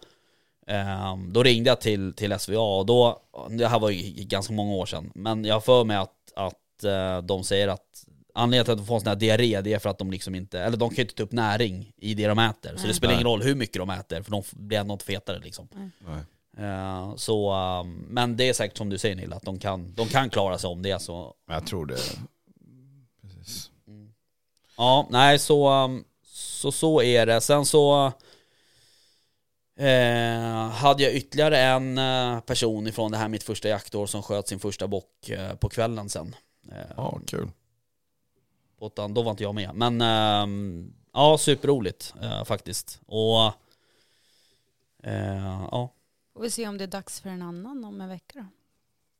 S4: ehm, då ringde jag till, till SVA och då, det här var ju ganska många år sedan, men jag har för mig att, att eh, de säger att anledningen till att de får en sån här diarré det är för att de liksom inte, eller de kan ju inte ta upp näring i det de äter. Så det spelar ingen roll hur mycket de äter för de f- blir ändå inte fetare liksom.
S5: Nej.
S4: Eh, så, ehm, men det är säkert som du säger Nilla, att de kan, de kan klara sig om det är så.
S5: Men jag tror det. Precis.
S4: Ja, nej så, ehm, så, så är det. Sen så eh, hade jag ytterligare en eh, person ifrån det här mitt första jaktår som sköt sin första bock eh, på kvällen sen. Eh,
S5: Ja, kul.
S4: Utan då var inte jag med. Men ehm, ja, superroligt eh, faktiskt. Och eh, ja,
S6: Får vi se om det är dags för en annan om en vecka då.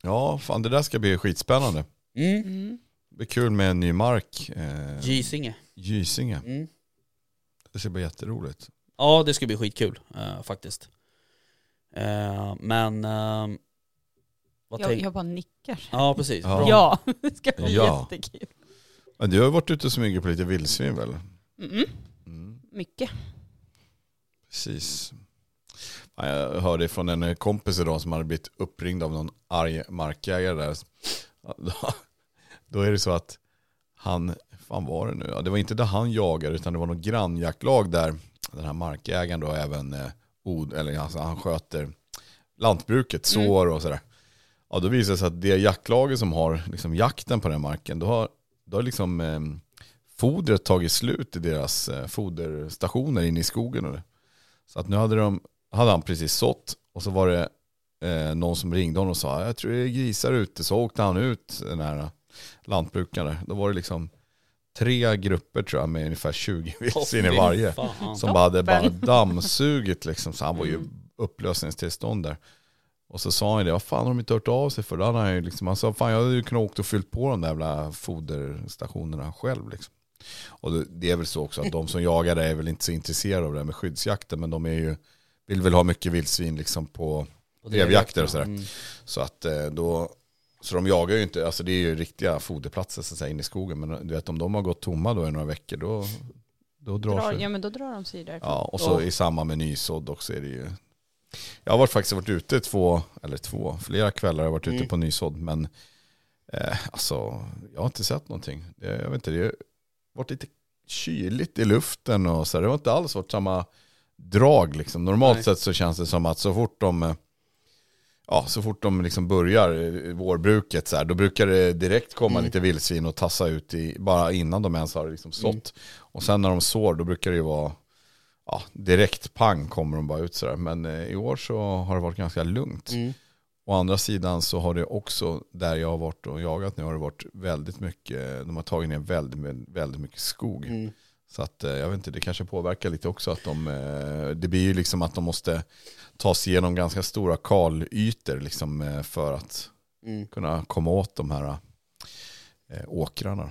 S5: Ja, fan det där ska bli skitspännande.
S4: mm.
S6: Mm.
S5: Det blir kul med ny mark. Eh,
S4: Gysinge.
S5: Gysinge.
S4: Mm.
S5: Det ska bli jätteroligt.
S4: Ja, det ska bli skitkul eh, faktiskt. Eh, men... ehm, vad
S6: Jag,
S4: tänk-
S6: jag bara nickar.
S4: Ja, precis.
S5: Ja.
S4: Bra.
S6: Ja, [laughs] det ska bli
S5: Ja.
S6: jättekul.
S5: Ja, du har ju varit ute och smugit på lite vildsvin väl?
S6: Mm.
S5: Mm,
S6: Mycket.
S5: precis. Ja, Jag hörde från en kompis idag som hade blivit uppringd av någon arg markägare där. Ja, då- Då är det så att han, fan var det nu? Ja, det var inte där han jagade utan det var något grannjaktlag där den här markägaren då även, eh, od, eller alltså, han sköter lantbruket, sår och sådär. Ja, då visar det sig att det jaktlaget som har liksom, jakten på den marken, då har, då har liksom eh, fodret tagit slut i deras eh, foderstationer inne i skogen. Och det. Så att nu hade, de, hade han precis sått och så var det eh, någon som ringde honom och sa jag tror det är grisar ute. Så åkte han ut, den här eh, lantbrukaren. Då var det liksom tre grupper tror jag med ungefär 20 vildsvin i
S4: Fy
S5: varje.
S4: fan.
S5: Som bara hade bara dammsugit liksom. Så han var ju upplösningstillstånd där. Och så sa han ju det, vad fan har de inte hört av sig för? Då hade han, ju liksom, han sa, fan jag hade ju kunnat åkt och fyllt på de där jävla foderstationerna själv. Liksom. Och det- det är väl så också att de som jagar där är väl inte så intresserade av det här med skyddsjakten. Men de är ju, vill väl ha mycket vildsvin liksom på
S4: Och det är
S5: drevjakter och sådär.
S4: Mm.
S5: Så att eh, då, så de jagar ju inte, alltså det är ju riktiga foderplatser så att säga, inne i skogen. Men du vet om de har gått tomma då i några veckor då, då drar,
S6: Drar,
S5: sig.
S6: ja men då drar de sig därifrån.
S5: Ja, och så i samband med nysådd också är det ju... Jag har varit, faktiskt varit ute två, eller två, flera kvällar har jag varit ute
S4: Mm.
S5: på nysådd, men eh, alltså jag har inte sett någonting. Det, jag vet inte, det har varit lite kyligt i luften och så här. Det har inte alls varit samma drag liksom. Normalt
S4: Nej.
S5: sett så känns det som att så fort de eh, ja, så fort de liksom börjar eh, vårbruket så här, då brukar det direkt komma
S4: Mm.
S5: lite vildsvin och tassa ut i, bara innan de ens har liksom sått. Och sen när de sår då brukar det ju vara ja, direkt pang kommer de bara ut sådär. Men eh, i år så har det varit ganska lugnt.
S4: Mm.
S5: Å andra sidan så har det också, där jag har varit och jagat nu, har det varit väldigt mycket, de har tagit ner väldigt, väldigt mycket skog.
S4: Mm.
S5: Så att eh, jag vet inte, det kanske påverkar lite också att de, eh, det blir ju liksom att de måste ta sig igenom ganska stora kalytor liksom eh, för att
S4: Mm.
S5: kunna komma åt de här eh, åkrarna.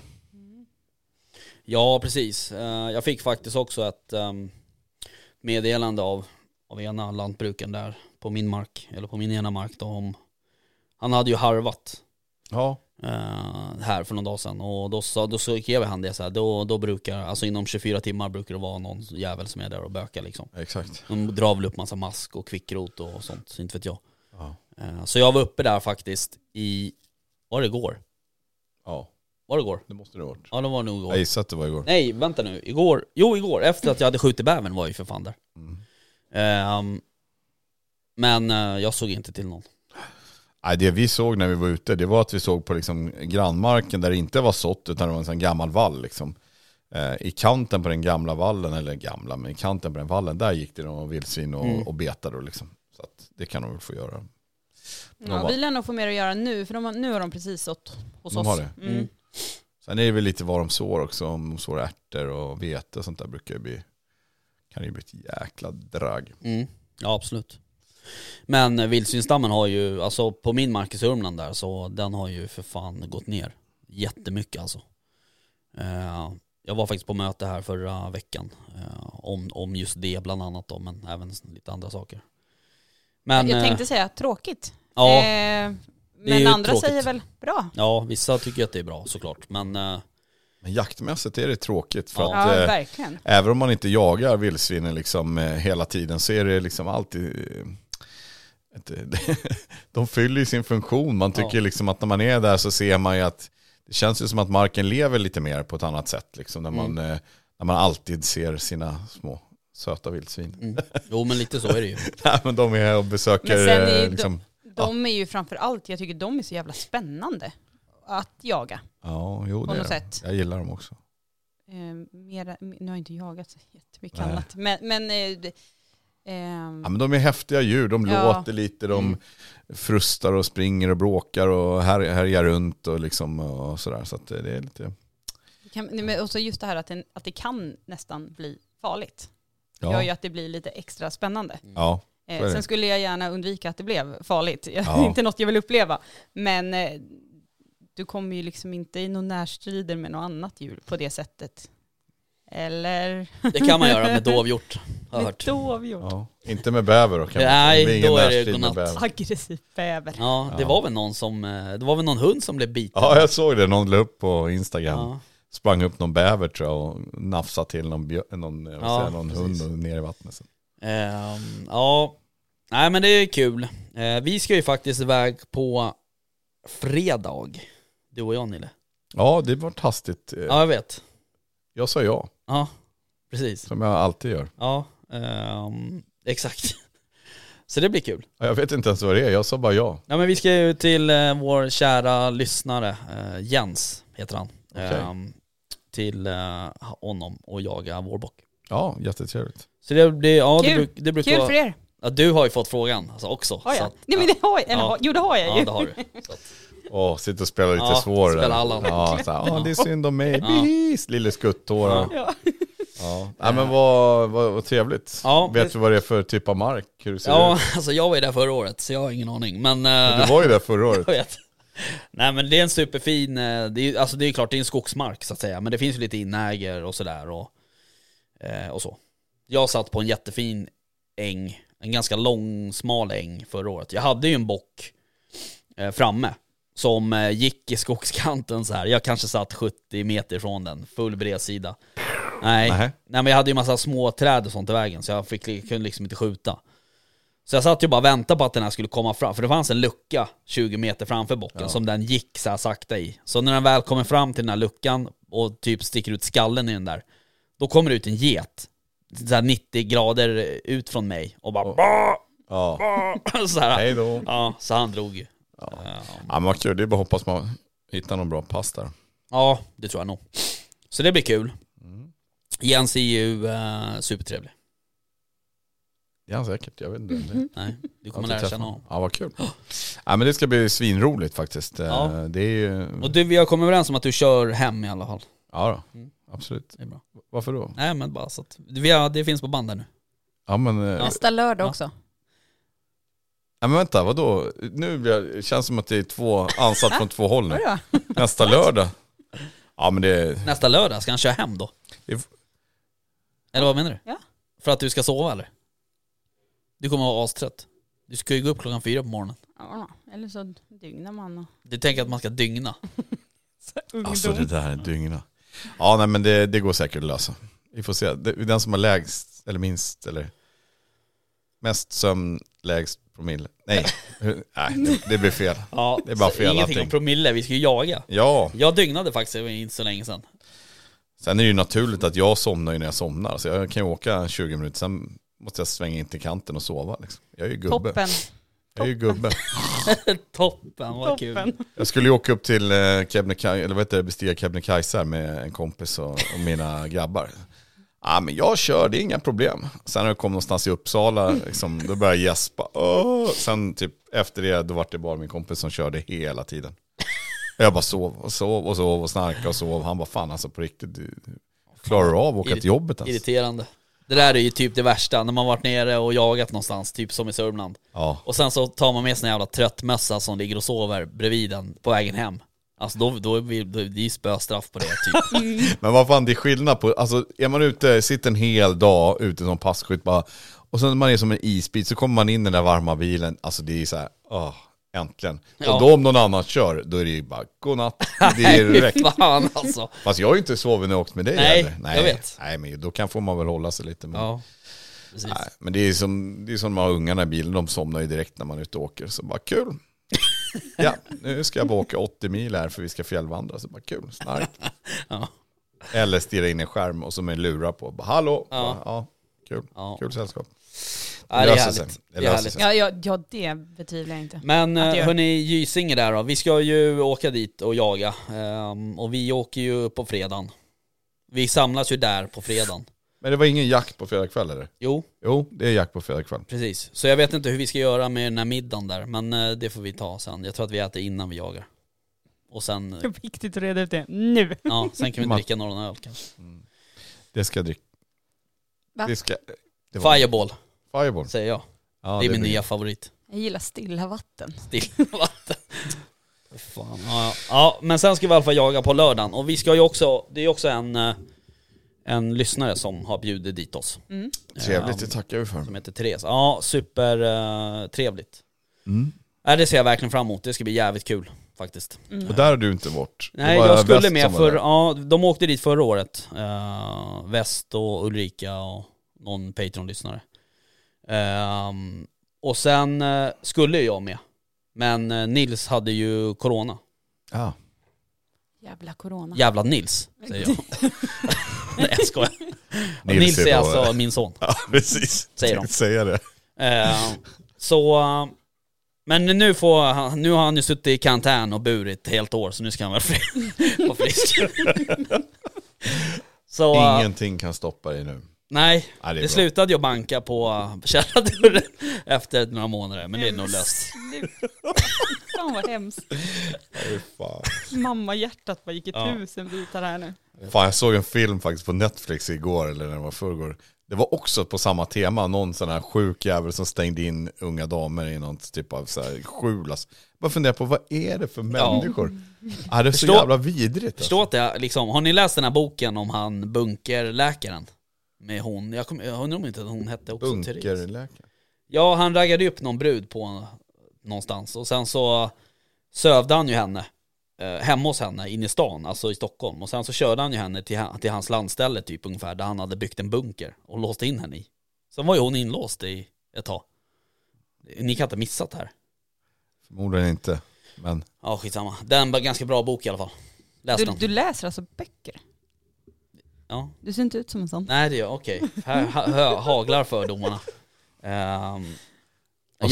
S4: Ja, precis. Eh, Jag fick faktiskt också ett ehm, meddelande av, av ena lantbruken där på min mark, eller på min ena mark då om, han hade ju harvat
S5: Ja,
S4: eh, här för någon dag sedan och då, sa, då skrev han det så här, då, då brukar, alltså inom 24 timmar brukar det vara någon jävel som är där och bökar liksom.
S5: exakt.
S4: De drar väl upp massa mask och kvickrot och sånt, så inte vet jag.
S5: Ja.
S4: Eh, Så jag var uppe där faktiskt i, var det igår?
S5: Ja,
S4: Var det igår?
S5: det måste det ha varit.
S4: Ja det var nog igår.
S5: Jag gissade att det var igår.
S4: Nej, vänta nu. Igår, jo igår, efter att jag hade skjutit bävern var jag ju för fan där.
S5: Mm.
S4: Ehm, men eh, jag såg inte till någon.
S5: Nej, det vi såg när vi var ute, det var att vi såg på liksom grannmarken där det inte var sått, utan det var en sån gammal vall. Liksom. Eh, I kanten på den gamla vallen, eller gamla, men i kanten på den vallen, där gick det någon vildsvin och,
S4: Mm.
S5: och betade. och Liksom. Så att det kan de väl få göra. De
S6: Ja,
S5: var-
S6: vi lär nog få mer att göra nu, för de har, nu har de precis sått hos
S5: De
S6: oss.
S5: har det.
S6: Mm.
S4: Mm.
S5: Sen är det väl lite vad de sår också, om de sår ärtor och vete och sånt där brukar ju bli, kan ju bli ett jäkla drag.
S4: Mm. Ja, absolut. Men eh, vildsvinsstammen har ju, alltså på min mark i Sörmland där, så den har ju för fan gått ner jättemycket alltså. Eh, jag var faktiskt på möte här förra veckan eh, om, om just det bland annat då, men även lite andra saker. Men,
S6: jag
S4: eh,
S6: tänkte säga tråkigt.
S4: ja,
S6: Eh,
S4: är ju
S6: men andra
S4: tråkigt.
S6: säger väl bra.
S4: ja, vissa tycker att det är bra såklart, men eh,
S5: Men jaktmässigt är det tråkigt för
S4: Ja.
S5: att
S6: ja,
S5: eh,
S6: verkligen.
S5: Även om man inte jagar vildsvinen liksom eh, hela tiden så är det liksom alltid... eh, Ett, [laughs] eh, de fyller ju sin funktion. Man tycker
S4: Ja.
S5: liksom att när man är där så ser man ju att det känns ju som att marken lever lite mer på ett annat sätt. Liksom, när, man,
S6: Mm.
S5: eh, när man alltid ser sina små söta vildsvin.
S4: jo men lite så är det ju.
S5: [laughs] Nej, men de är här och
S6: Mm. Men
S5: besöker...
S6: sen är ju
S5: eh, liksom,
S6: De är ju framför allt, jag tycker de är så jävla spännande att jaga.
S5: Ja, jo,
S6: på
S5: det är
S6: något
S5: de.
S6: sätt.
S5: Jag gillar dem också.
S6: Eh, mera, nu har jag inte jagat så jättemycket
S5: Nej.
S6: annat. Men, men eh, det- ehm,
S5: Ja, men de är häftiga djur, de
S6: Ja.
S5: låter lite, de frustar och springer och bråkar och här- härjar runt och, liksom och sådär. Så att det är lite...
S6: det kan, nej, men också just det här att, den, att det kan nästan bli farligt.
S5: Ja,
S6: gör ju att det blir lite extra spännande.
S5: [laughs] ja. Så är
S6: Eh,
S5: det.
S6: sen skulle jag gärna undvika att det blev farligt. Det
S5: Ja.
S6: är [laughs] inte något jag vill uppleva. Men eh, du kommer ju liksom inte i några närstrider med något annat djur på det sättet. Eller?
S4: Det kan man göra med dovhjort, har jag
S6: Med
S4: hört.
S6: dovhjort.
S5: ja. Inte med bäver då kan man
S4: Nej,
S5: blir ingen
S4: då är det
S5: närstrid med
S4: godnatt.
S5: bäver.
S6: Aggressiv bäver.
S4: Ja, det
S5: Ja.
S4: var väl någon som, eh, det var väl någon hund som blev biten.
S5: Ja, jag såg det. Någon la upp på Instagram.
S4: Ja.
S5: Sprang upp någon bäver tror jag och nafsade till någon, björ, någon, eh, vad
S4: Ja,
S5: säger jag, någon
S4: precis.
S5: hund och ner i vattnet. Sen.
S4: Ehm, ja, nej men det är kul. Eh, vi ska ju faktiskt iväg på fredag, du och jag Nille.
S5: Ja, det var hastigt. Eh,
S4: Ja, jag vet.
S5: Jag sa ja,
S4: Ja, precis.
S5: som jag alltid gör.
S4: Ja, ehm, exakt. [laughs] Så det blir kul.
S5: Ja, Jag vet inte ens vad det är, jag sa bara ja.
S4: Ja men vi ska ju till eh, vår kära lyssnare, eh, Jens heter han.
S5: Okej.
S4: Ehm, till eh, honom och jaga vårbock.
S5: Ja, jättetrevligt.
S4: Så det blir, ja det,
S6: Kul.
S4: bruk, det brukar
S6: Kul för
S4: vara,
S6: er.
S4: ja, du har ju fått frågan alltså, också.
S6: Har
S4: så
S6: jag?
S4: att-
S6: Nej men det har jag. Eller,
S4: Ja.
S6: har- Jo det har jag
S4: Ja
S6: ju.
S4: det
S6: [laughs]
S4: har du. Så att,
S5: Åh, sitter och spelar lite
S4: Ja,
S5: svår.
S4: spela Allan.
S5: Ja, så här, ja, det är synd om mig.
S4: Ja.
S5: Bis, Lille skuttår.
S4: Ja.
S5: Ja.
S6: Ja.
S5: Ja. men vad, vad, vad trevligt.
S4: Ja,
S5: vet
S4: det-
S5: du vad det är för typ av mark? Hur det ser
S4: ja
S5: ut?
S4: alltså jag var ju där förra året så jag har ingen aning men... eh,
S5: Men Du var ju där förra
S4: [laughs]
S5: året.
S4: jag vet. Nej men det är en superfin, eh, det är, ju- alltså det är klart det är en skogsmark så att säga men det finns ju lite inäger och sådär och, eh, och så. Jag satt på en jättefin äng, en ganska lång smal äng förra året. Jag hade ju en bock eh, framme som eh, gick i skogskanten så här. Jag kanske satt 70 meter från den, full bredsida. Nej,
S5: Nähä.
S4: nej men jag hade ju massa små träd och sånt i vägen så jag fick, kunde liksom inte skjuta. Så jag satt ju bara och väntade på att den här skulle komma fram, för det fanns en lucka 20 meter framför bocken som den gick så här sakta i. Så när den väl kommer fram till den här luckan och typ sticker ut skallen i den där, då kommer det ut en get, så här 90 grader ut från mig och bara
S5: Ja,
S4: [laughs] så, här.
S5: hej då.
S4: Ja, så han drog ju.
S5: Ja.
S4: Ja.
S5: Ja, men vad kul, det är bara att hoppas man hittar någon bra pass där.
S4: ja, det tror jag nog. Så det blir kul.
S5: Mm.
S4: Jens är ju eh, supertrevlig.
S5: Det är han säkert, jag vet inte. Det-
S4: Nej, du
S5: jag har
S4: Mhm. kommer
S5: inte
S4: lära
S5: träffat
S4: känna honom.
S5: Ja, vad kul. Ja, men det ska bli svinroligt faktiskt. Eh,
S4: Ja.
S5: Det är ju...
S4: Och du, vi har kommit överens om att du kör hem i alla fall.
S5: Ja, då.
S4: Mm.
S5: absolut.
S4: Det är bra.
S5: Varför då?
S4: Nej men bara så att, vi har, det finns på band där nu.
S5: Ja, men, eh,
S6: Nästa lördag
S4: Ja.
S6: också.
S5: ja, men vänta, vadå? Nu blir jag, känns det som att det är två ansats från två
S6: [laughs]
S5: håll nu.
S6: Vadå?
S5: Nästa lördag. Ja, men det...
S4: Nästa lördag, ska han köra hem då?
S5: If-
S4: Eller vad menar du?
S6: Ja.
S4: För att du ska sova eller? Du kommer vara astrött. Du ska ju gå upp klockan fyra på morgonen.
S6: Ja, eller så dygnar man och...
S4: Du tänker att man ska dygna.
S5: Alltså det där är dygna. Ja, nej men det, det går säkert att lösa. Vi får se. Det- Den som har lägst, eller minst, eller mest sömn, lägst promille. Nej, hur- nej det, det blir fel.
S4: Ja,
S5: Det är bara
S4: så
S5: fel
S4: Ingenting
S5: allting.
S4: om promille, vi ska ju jaga.
S5: Ja,
S4: Jag dygnade faktiskt inte så länge sedan.
S5: sen är det ju naturligt att jag somnar ju när jag somnar. Så jag kan ju åka 20 minuter, sen måste jag svänga in till kanten och sova. Liksom. Jag är ju gubbe.
S6: Toppen.
S5: Jag är ju gubbe.
S4: Toppen, vad kul.
S6: Toppen.
S5: Jag skulle ju åka upp till eh, Kebnekaise, eller vad heter det, bestiga Kebnekaise här med en kompis och, och mina grabbar. Ja men jag kör, det är inga problem. Sen när jag kom någonstans i Uppsala, liksom, då började jag gäspa. Åh! Sen typ efter det, då var det bara min kompis som körde hela tiden. Jag bara sov och sov och sov och snarkade och sov. Han bara fan alltså på riktigt, du klarar du av att åka
S4: Irrit-
S5: till jobbet alltså. ens?
S4: Irriterande. Det där är ju typ det värsta, när man varit nere och jagat någonstans, typ som i Sörmland.
S5: Ja,
S4: Och sen så tar man med sig en jävla tröttmössa som ligger och sover bredvid den på vägen hem. Alltså då, då, är vi- då är det ju spöstraff på det
S5: [laughs]
S4: typ.
S5: men vad fan det är skillnad på, alltså är man ute, sitter en hel dag ute som passkytt bara, och sen när man är som en isbit så kommer man in i den där varma bilen, alltså det är så här, åh, äntligen.
S4: Ja.
S5: Och då om någon annan kör, då är det ju bara godnatt, det
S4: [laughs]
S5: är direkt.
S4: Fan alltså.
S5: Fast jag har ju inte sovit när jag åkt med dig
S4: Nej,
S5: heller.
S4: jag vet.
S5: Nej, men då kan får man väl hålla sig lite. Men,
S4: Ja, precis.
S5: nej, men det är som, det är som de har ungarna i bilen, de somnar ju direkt när man är ute och åker, så
S4: [laughs]
S5: bara kul. Ja, nu ska jag bara åka 80 mil här för vi ska fjällvandra, så bara kul, snark.
S4: Ja.
S5: Eller stirra in i en skärm och så med en lura på. Bara, Hallå!
S4: Ja.
S5: Bara, ja kul.
S4: Ja.
S5: kul sällskap.
S4: Ja, det är
S5: löser sig.
S4: härligt.
S5: Det
S4: Det är
S5: löser
S4: härligt.
S5: sig.
S6: Ja, ja, ja, det betvivlar jag inte.
S4: Men
S6: Att det
S4: eh,
S6: gör.
S4: hörni, Gysinge där då. Vi ska ju åka dit och jaga. Ehm, och vi åker ju på fredagen. Vi samlas ju där på fredagen.
S5: Men det var ingen jakt på fredag kväll eller?
S4: Jo,
S5: Jo, det är jakt på fredag kväll.
S4: precis. Så jag vet inte hur vi ska göra med den här middagen där. Men eh, det får vi ta sen. Jag tror att vi äter innan vi jagar. Och sen, eh,
S6: viktigt att reda ut det nu.
S4: ja, sen kan vi
S5: [laughs] Man-
S4: dricka någon öl kanske.
S5: Det ska jag dricka.
S6: Va?
S5: Det ska... Det var-
S4: Fireball,
S5: Fireball.
S4: säger jag.
S5: Ja,
S4: det är min
S5: blir-
S4: nya favorit.
S6: Jag gillar stilla vatten.
S4: [laughs] Dillvatten. Fan. Ja, ja. ja, men sen ska vi i alla fall jaga på lördagen. Och vi ska ju också, det är ju också en, eh, en lyssnare som har bjudit dit oss.
S6: Mm.
S5: Trevligt,
S4: Eh,
S5: det tackar vi för.
S4: Som heter Therese. Ja, supertrevligt.
S5: Mm.
S4: Uh, det ser jag verkligen fram emot. Det ska bli jävligt kul faktiskt.
S5: Och där har du inte varit. Det
S4: Nej,
S5: var
S4: jag skulle
S5: väst
S4: med
S5: som var
S4: för,
S5: där.
S4: ja, de åkte dit förra året. Eh, Väst och Ulrika och någon Patreon-lyssnare. Ehm, och sen eh, skulle jag med. Men eh, Nils hade ju corona.
S5: Ja.
S6: Jävla corona.
S4: Jävla Nils, säger jag.
S5: [laughs]
S4: Nej jag skojar. Nils, är
S5: då-
S4: alltså min son.
S5: [laughs] Ja, precis.
S4: Säger de.
S5: Säger det.
S4: Eh, så... eh, Men nu, får, han- nu har han ju suttit i karantän och burit ett helt år, så nu ska han vara fri, [laughs] vara
S5: [laughs]
S4: frisk. så... eh,
S5: Ingenting kan stoppa dig nu.
S4: Nej,
S5: Ja, det är
S4: det
S5: bra.
S4: slutade jag banka på eh, källardörren [laughs] efter några månader, men det är nog löst.
S6: Fan vad hemskt.
S5: Fy Fan.
S6: Mamma hjärtat bara gick i
S4: Ja.
S6: tusen bitar här nu.
S5: Fan, jag såg en film faktiskt på Netflix igår, eller när det var förrgår. Det var också på samma tema, någon sån här sjuk jävel som stängde in unga damer i någon typ av så här skjul. Alltså. Bara fundera på, vad är det för människor? Ja, det är så
S4: Förstå-
S5: jävla vidrigt.
S4: Förstå
S5: Alltså.
S4: att jag, liksom, har ni läst den här boken om han bunkerläkaren? Med hon, jag, kommer- jag undrar om inte hon hette också Therese.
S5: Bunkerläkare.
S4: Ja, han raggade ju upp någon brud på någonstans och sen så sövde han ju henne eh, hemma hos henne inne i stan, alltså i Stockholm. Och sen så körde han ju henne till, ha- till hans landställe typ ungefär, där han hade byggt en bunker och låste in henne i. Sen var ju hon inlåst i ett tag. Ni kan inte ha missat det här.
S5: Förmodligen inte, men
S4: Ja, skitsamma. Den var ganska bra bok i alla fall. Läs
S6: Du,
S4: den.
S6: du läser alltså böcker?
S4: Ja.
S6: Du ser inte ut som en sån.
S4: Nej det gör okej. Här ha, ha, haglar fördomarna. Ehm,
S5: Och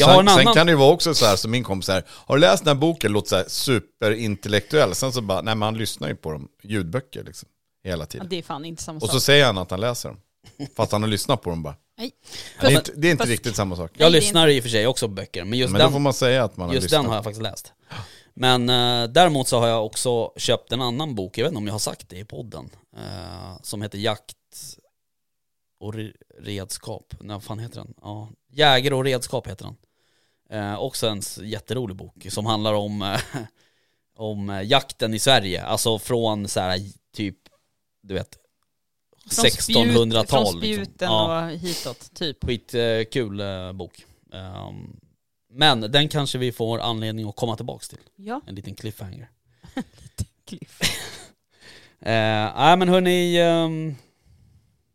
S4: Jag
S5: sen,
S4: har en
S5: sen
S4: annan.
S5: kan det ju vara också så här som min kompis här, har du läst den här boken? Låter så här superintellektuell. Sen så bara, nej men han lyssnar ju på dem, ljudböcker liksom, hela
S6: Ja,
S5: tiden.
S6: det är fan inte samma
S5: Och
S6: sak.
S5: så säger han att han läser dem. Fast han har lyssnat på dem bara.
S6: Nej.
S5: Det är inte, det är inte
S6: Fast-
S5: riktigt samma sak.
S4: Jag
S6: Nej, det är
S4: lyssnar i och för sig också på böcker, men just
S5: Men då
S4: den
S5: får man säga att man har
S4: Just
S5: lyssnat.
S4: den har jag faktiskt läst. Men eh, däremot så har jag också köpt en annan bok, jag vet inte om jag har sagt det i podden, eh, som heter Jakt och re- redskap. Nej, vad fan heter den? Ja, Jägare och redskap heter den. Eh, också en s- jätterolig bok som handlar om, eh, [laughs] om eh, jakten i Sverige. Alltså från så här typ, du vet,
S6: Från spjut-
S4: 1600-tal.
S6: Från spjuten
S4: liksom. Ja.
S6: och hitåt, typ.
S4: Skitkul eh, bok. Ehm, men den kanske vi får anledning att komma tillbaka till.
S6: Ja.
S4: En liten cliffhanger.
S6: Cliff.
S4: Eh, Nej men hörni, ehm,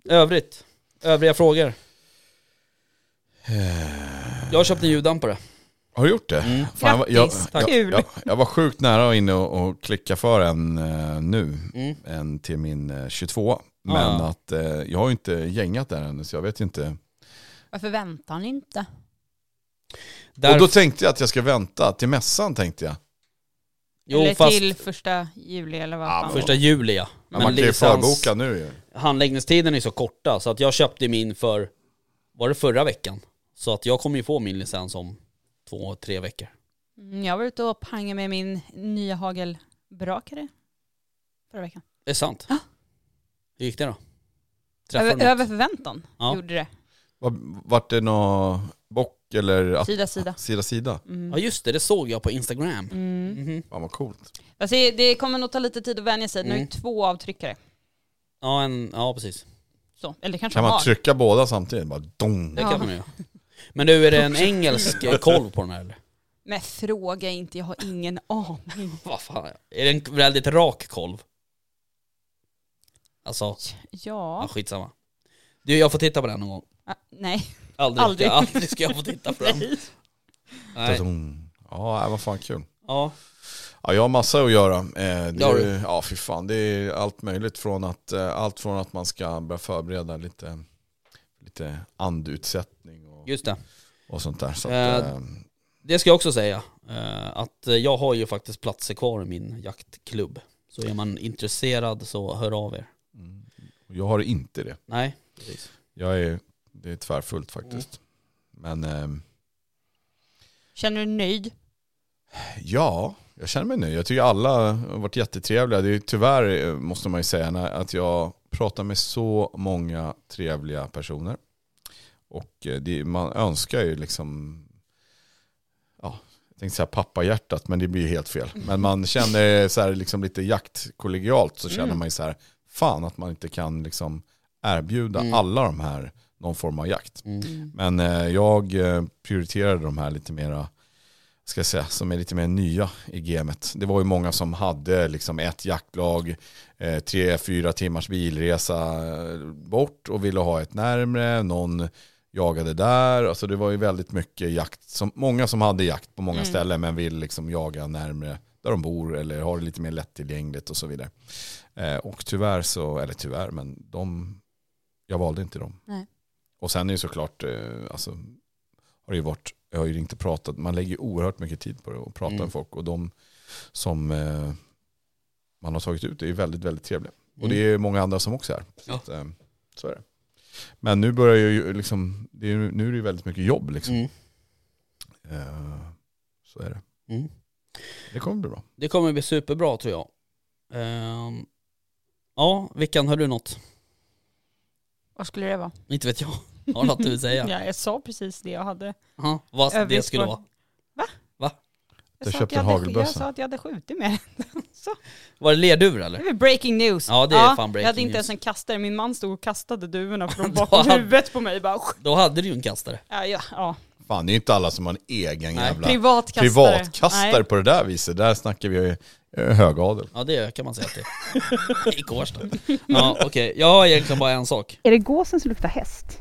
S4: övrigt. Övriga frågor. Jag har köpt en ljuddampare.
S5: Eh, Har du gjort det?
S4: Mm.
S5: Fan, jag, jag,
S6: Grattis,
S5: jag,
S6: kul.
S5: jag, jag var sjukt nära att inne och, och klicka för en eh, nu,
S4: Mm.
S5: en till min eh, 22. Men
S4: Ah.
S5: att eh, jag har ju inte gängat där ännu så jag vet ju inte.
S6: Varför väntar ni inte?
S4: Där,
S5: Och då tänkte jag att jag ska vänta till mässan tänkte jag.
S4: jo
S6: eller
S4: fast
S6: till första juli eller vad
S5: Ja,
S6: fan.
S4: första juli ja.
S5: Men, man kan ju
S4: licens-
S5: förboka nu ju.
S4: handläggningstiden är så korta så att jag köpte min för, var det förra veckan? Så att jag kommer ju få min licens om två, tre veckor.
S6: Mm, Jag var ute och pangade med min nya hagelbrakare förra veckan.
S4: Det är sant.
S6: Ja.
S4: Hur gick det då? Träffade du
S6: Ah. Över,
S4: något?
S6: över förväntan
S4: Ja.
S6: gjorde det.
S5: Var- Vart det någon bock eller att,
S6: Sida, sida.
S5: sida sida?
S4: Ja just det, det såg jag på Instagram.
S6: Mm.
S4: Mhm.
S5: Fan vad coolt.
S6: Fast det, det kommer nog ta lite tid att vänja sig. Nu är
S4: Mm.
S6: det två avtryckare.
S4: Ja, en, ja precis.
S6: Så. Eller kanske
S5: Kan
S6: de
S5: man
S6: har.
S5: trycka båda samtidigt? Bara dong.
S4: Det
S6: Ja.
S4: kan man ju göra. Men du, är det
S6: [laughs]
S4: en engelsk kolv på den här eller?
S6: Men fråga inte, jag har ingen aning.
S4: Vad fan, är det en väldigt rak kolv? Alltså, ja,
S6: Ja.
S4: skitsamma. Du, jag får titta på den någon gång.
S6: Ah, nej.
S4: Aldrig,
S6: Aldrig.
S4: Ska, aldrig ska jag få titta
S6: [laughs]
S4: på den. Nej.
S5: Dong. Ja, nej, vad fan kul.
S4: Ja.
S5: Ja, jag har massa att göra. Eh, Det
S4: Det har
S5: är,
S4: du.
S5: ju- ja, fy fan. Det är allt möjligt. Från att, eh, allt från att man ska börja förbereda lite, lite andutsättning och,
S4: Just det.
S5: och sånt där. Så att,
S4: Eh,
S5: eh,
S4: Det ska jag också säga. eh, Att eh, jag har ju faktiskt platser kvar i min jaktklubb. Så är man intresserad så hör av er.
S5: mm. jag har inte det.
S4: Nej, precis.
S5: Jag är, det är tvärfullt faktiskt.
S4: Mm.
S5: Men eh,
S6: Känner du dig nöjd?
S5: ja, jag känner mig nöjd. Jag tycker alla har varit jättetrevliga. Det är, tyvärr eh, måste man ju säga när- att jag pratar med så många trevliga personer. Och eh, det, man önskar ju liksom jag tänkte säga pappahjärtat, men det blir ju helt fel. Men man känner så här, liksom lite jaktkollegialt så känner man ju så här, fan att man inte kan liksom erbjuda
S4: Mm.
S5: alla de här någon form av jakt.
S4: Mm.
S5: Men eh, jag eh, prioriterade de här lite mera, ska jag säga, som är lite mer nya i gamet. Det var ju många som hade liksom ett jaktlag, eh, tre, fyra timmars bilresa eh, bort och ville ha ett närmre, någon jagade där. Alltså det var ju väldigt mycket jakt, som, många som hade jakt på många
S6: Mm.
S5: ställen men vill liksom jaga närmre där de bor eller har det lite mer lättillgängligt och så vidare. Eh, och tyvärr så, eller tyvärr, men de, jag valde inte dem.
S6: Nej.
S5: Och sen är det såklart, eh, alltså, har det ju varit, jag har ju inte pratat, man lägger ju oerhört mycket tid på det och pratar
S4: Mm.
S5: med folk och de som eh, man har tagit ut är ju väldigt, väldigt trevliga. Och det är många andra som också är. Så,
S4: Mm. Ja.
S5: att, eh, så är det. Men nu börjar ju liksom, det är, ju- nu är det ju väldigt mycket jobb liksom.
S4: Mm.
S5: Eh, så är det.
S4: Mm.
S5: Det kommer bli bra.
S4: Det kommer bli superbra tror jag. Ehm, ja, Vickan, har du något?
S6: Vad skulle det vara?
S4: Inte vet jag. [laughs] Har du något du vill säga?
S6: Ja, jag sa precis det jag hade.
S4: Ja, vad det
S6: Övrigt
S4: skulle
S6: svar.
S4: vara.
S6: Jag
S5: Du
S6: sa att
S5: köpte
S6: jag
S5: en
S6: hade-
S5: hagelbössa.
S6: Jag sa att jag hade skjutit med
S4: Var det lerduvor
S6: Det
S4: eller?
S6: är väl breaking news.
S4: Ja, det är fan breaking
S6: Jag hade inte
S4: news.
S6: ens en kastare, min man stod och kastade duvorna
S4: [laughs]
S6: från
S4: Då
S6: bakom
S4: hade-
S6: huvudet på mig. Bara,
S4: Då hade du ju en kastare.
S6: ja, ja, ja.
S5: Fan, det är ju inte alla som har en egen
S4: Nej.
S5: jävla
S6: Privatkastare.
S5: privatkastare
S6: Nej.
S5: på det där viset. Där snackar vi ju eh, högadel.
S4: Ja det kan man säga att det är. I Kårsta. Ja okej, jag har egentligen bara en sak.
S7: Är det gåsen som luktar häst?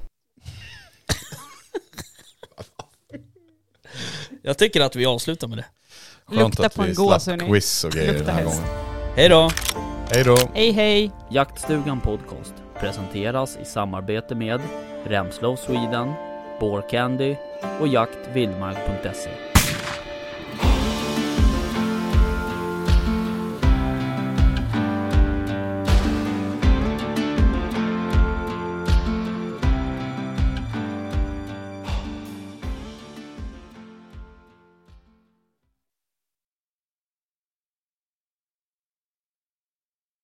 S4: Jag tycker att vi avslutar med det.
S6: Lukta på en gås, hörni.
S5: quiz och grejer den
S6: Lukta
S5: här
S6: häst.
S5: gången.
S4: Hej då!
S5: Hej då!
S6: Hej hej.
S9: Jaktstugan Podcast presenteras i samarbete med Remslow Sweden, Bore Candy
S4: och jaktvildmark.se.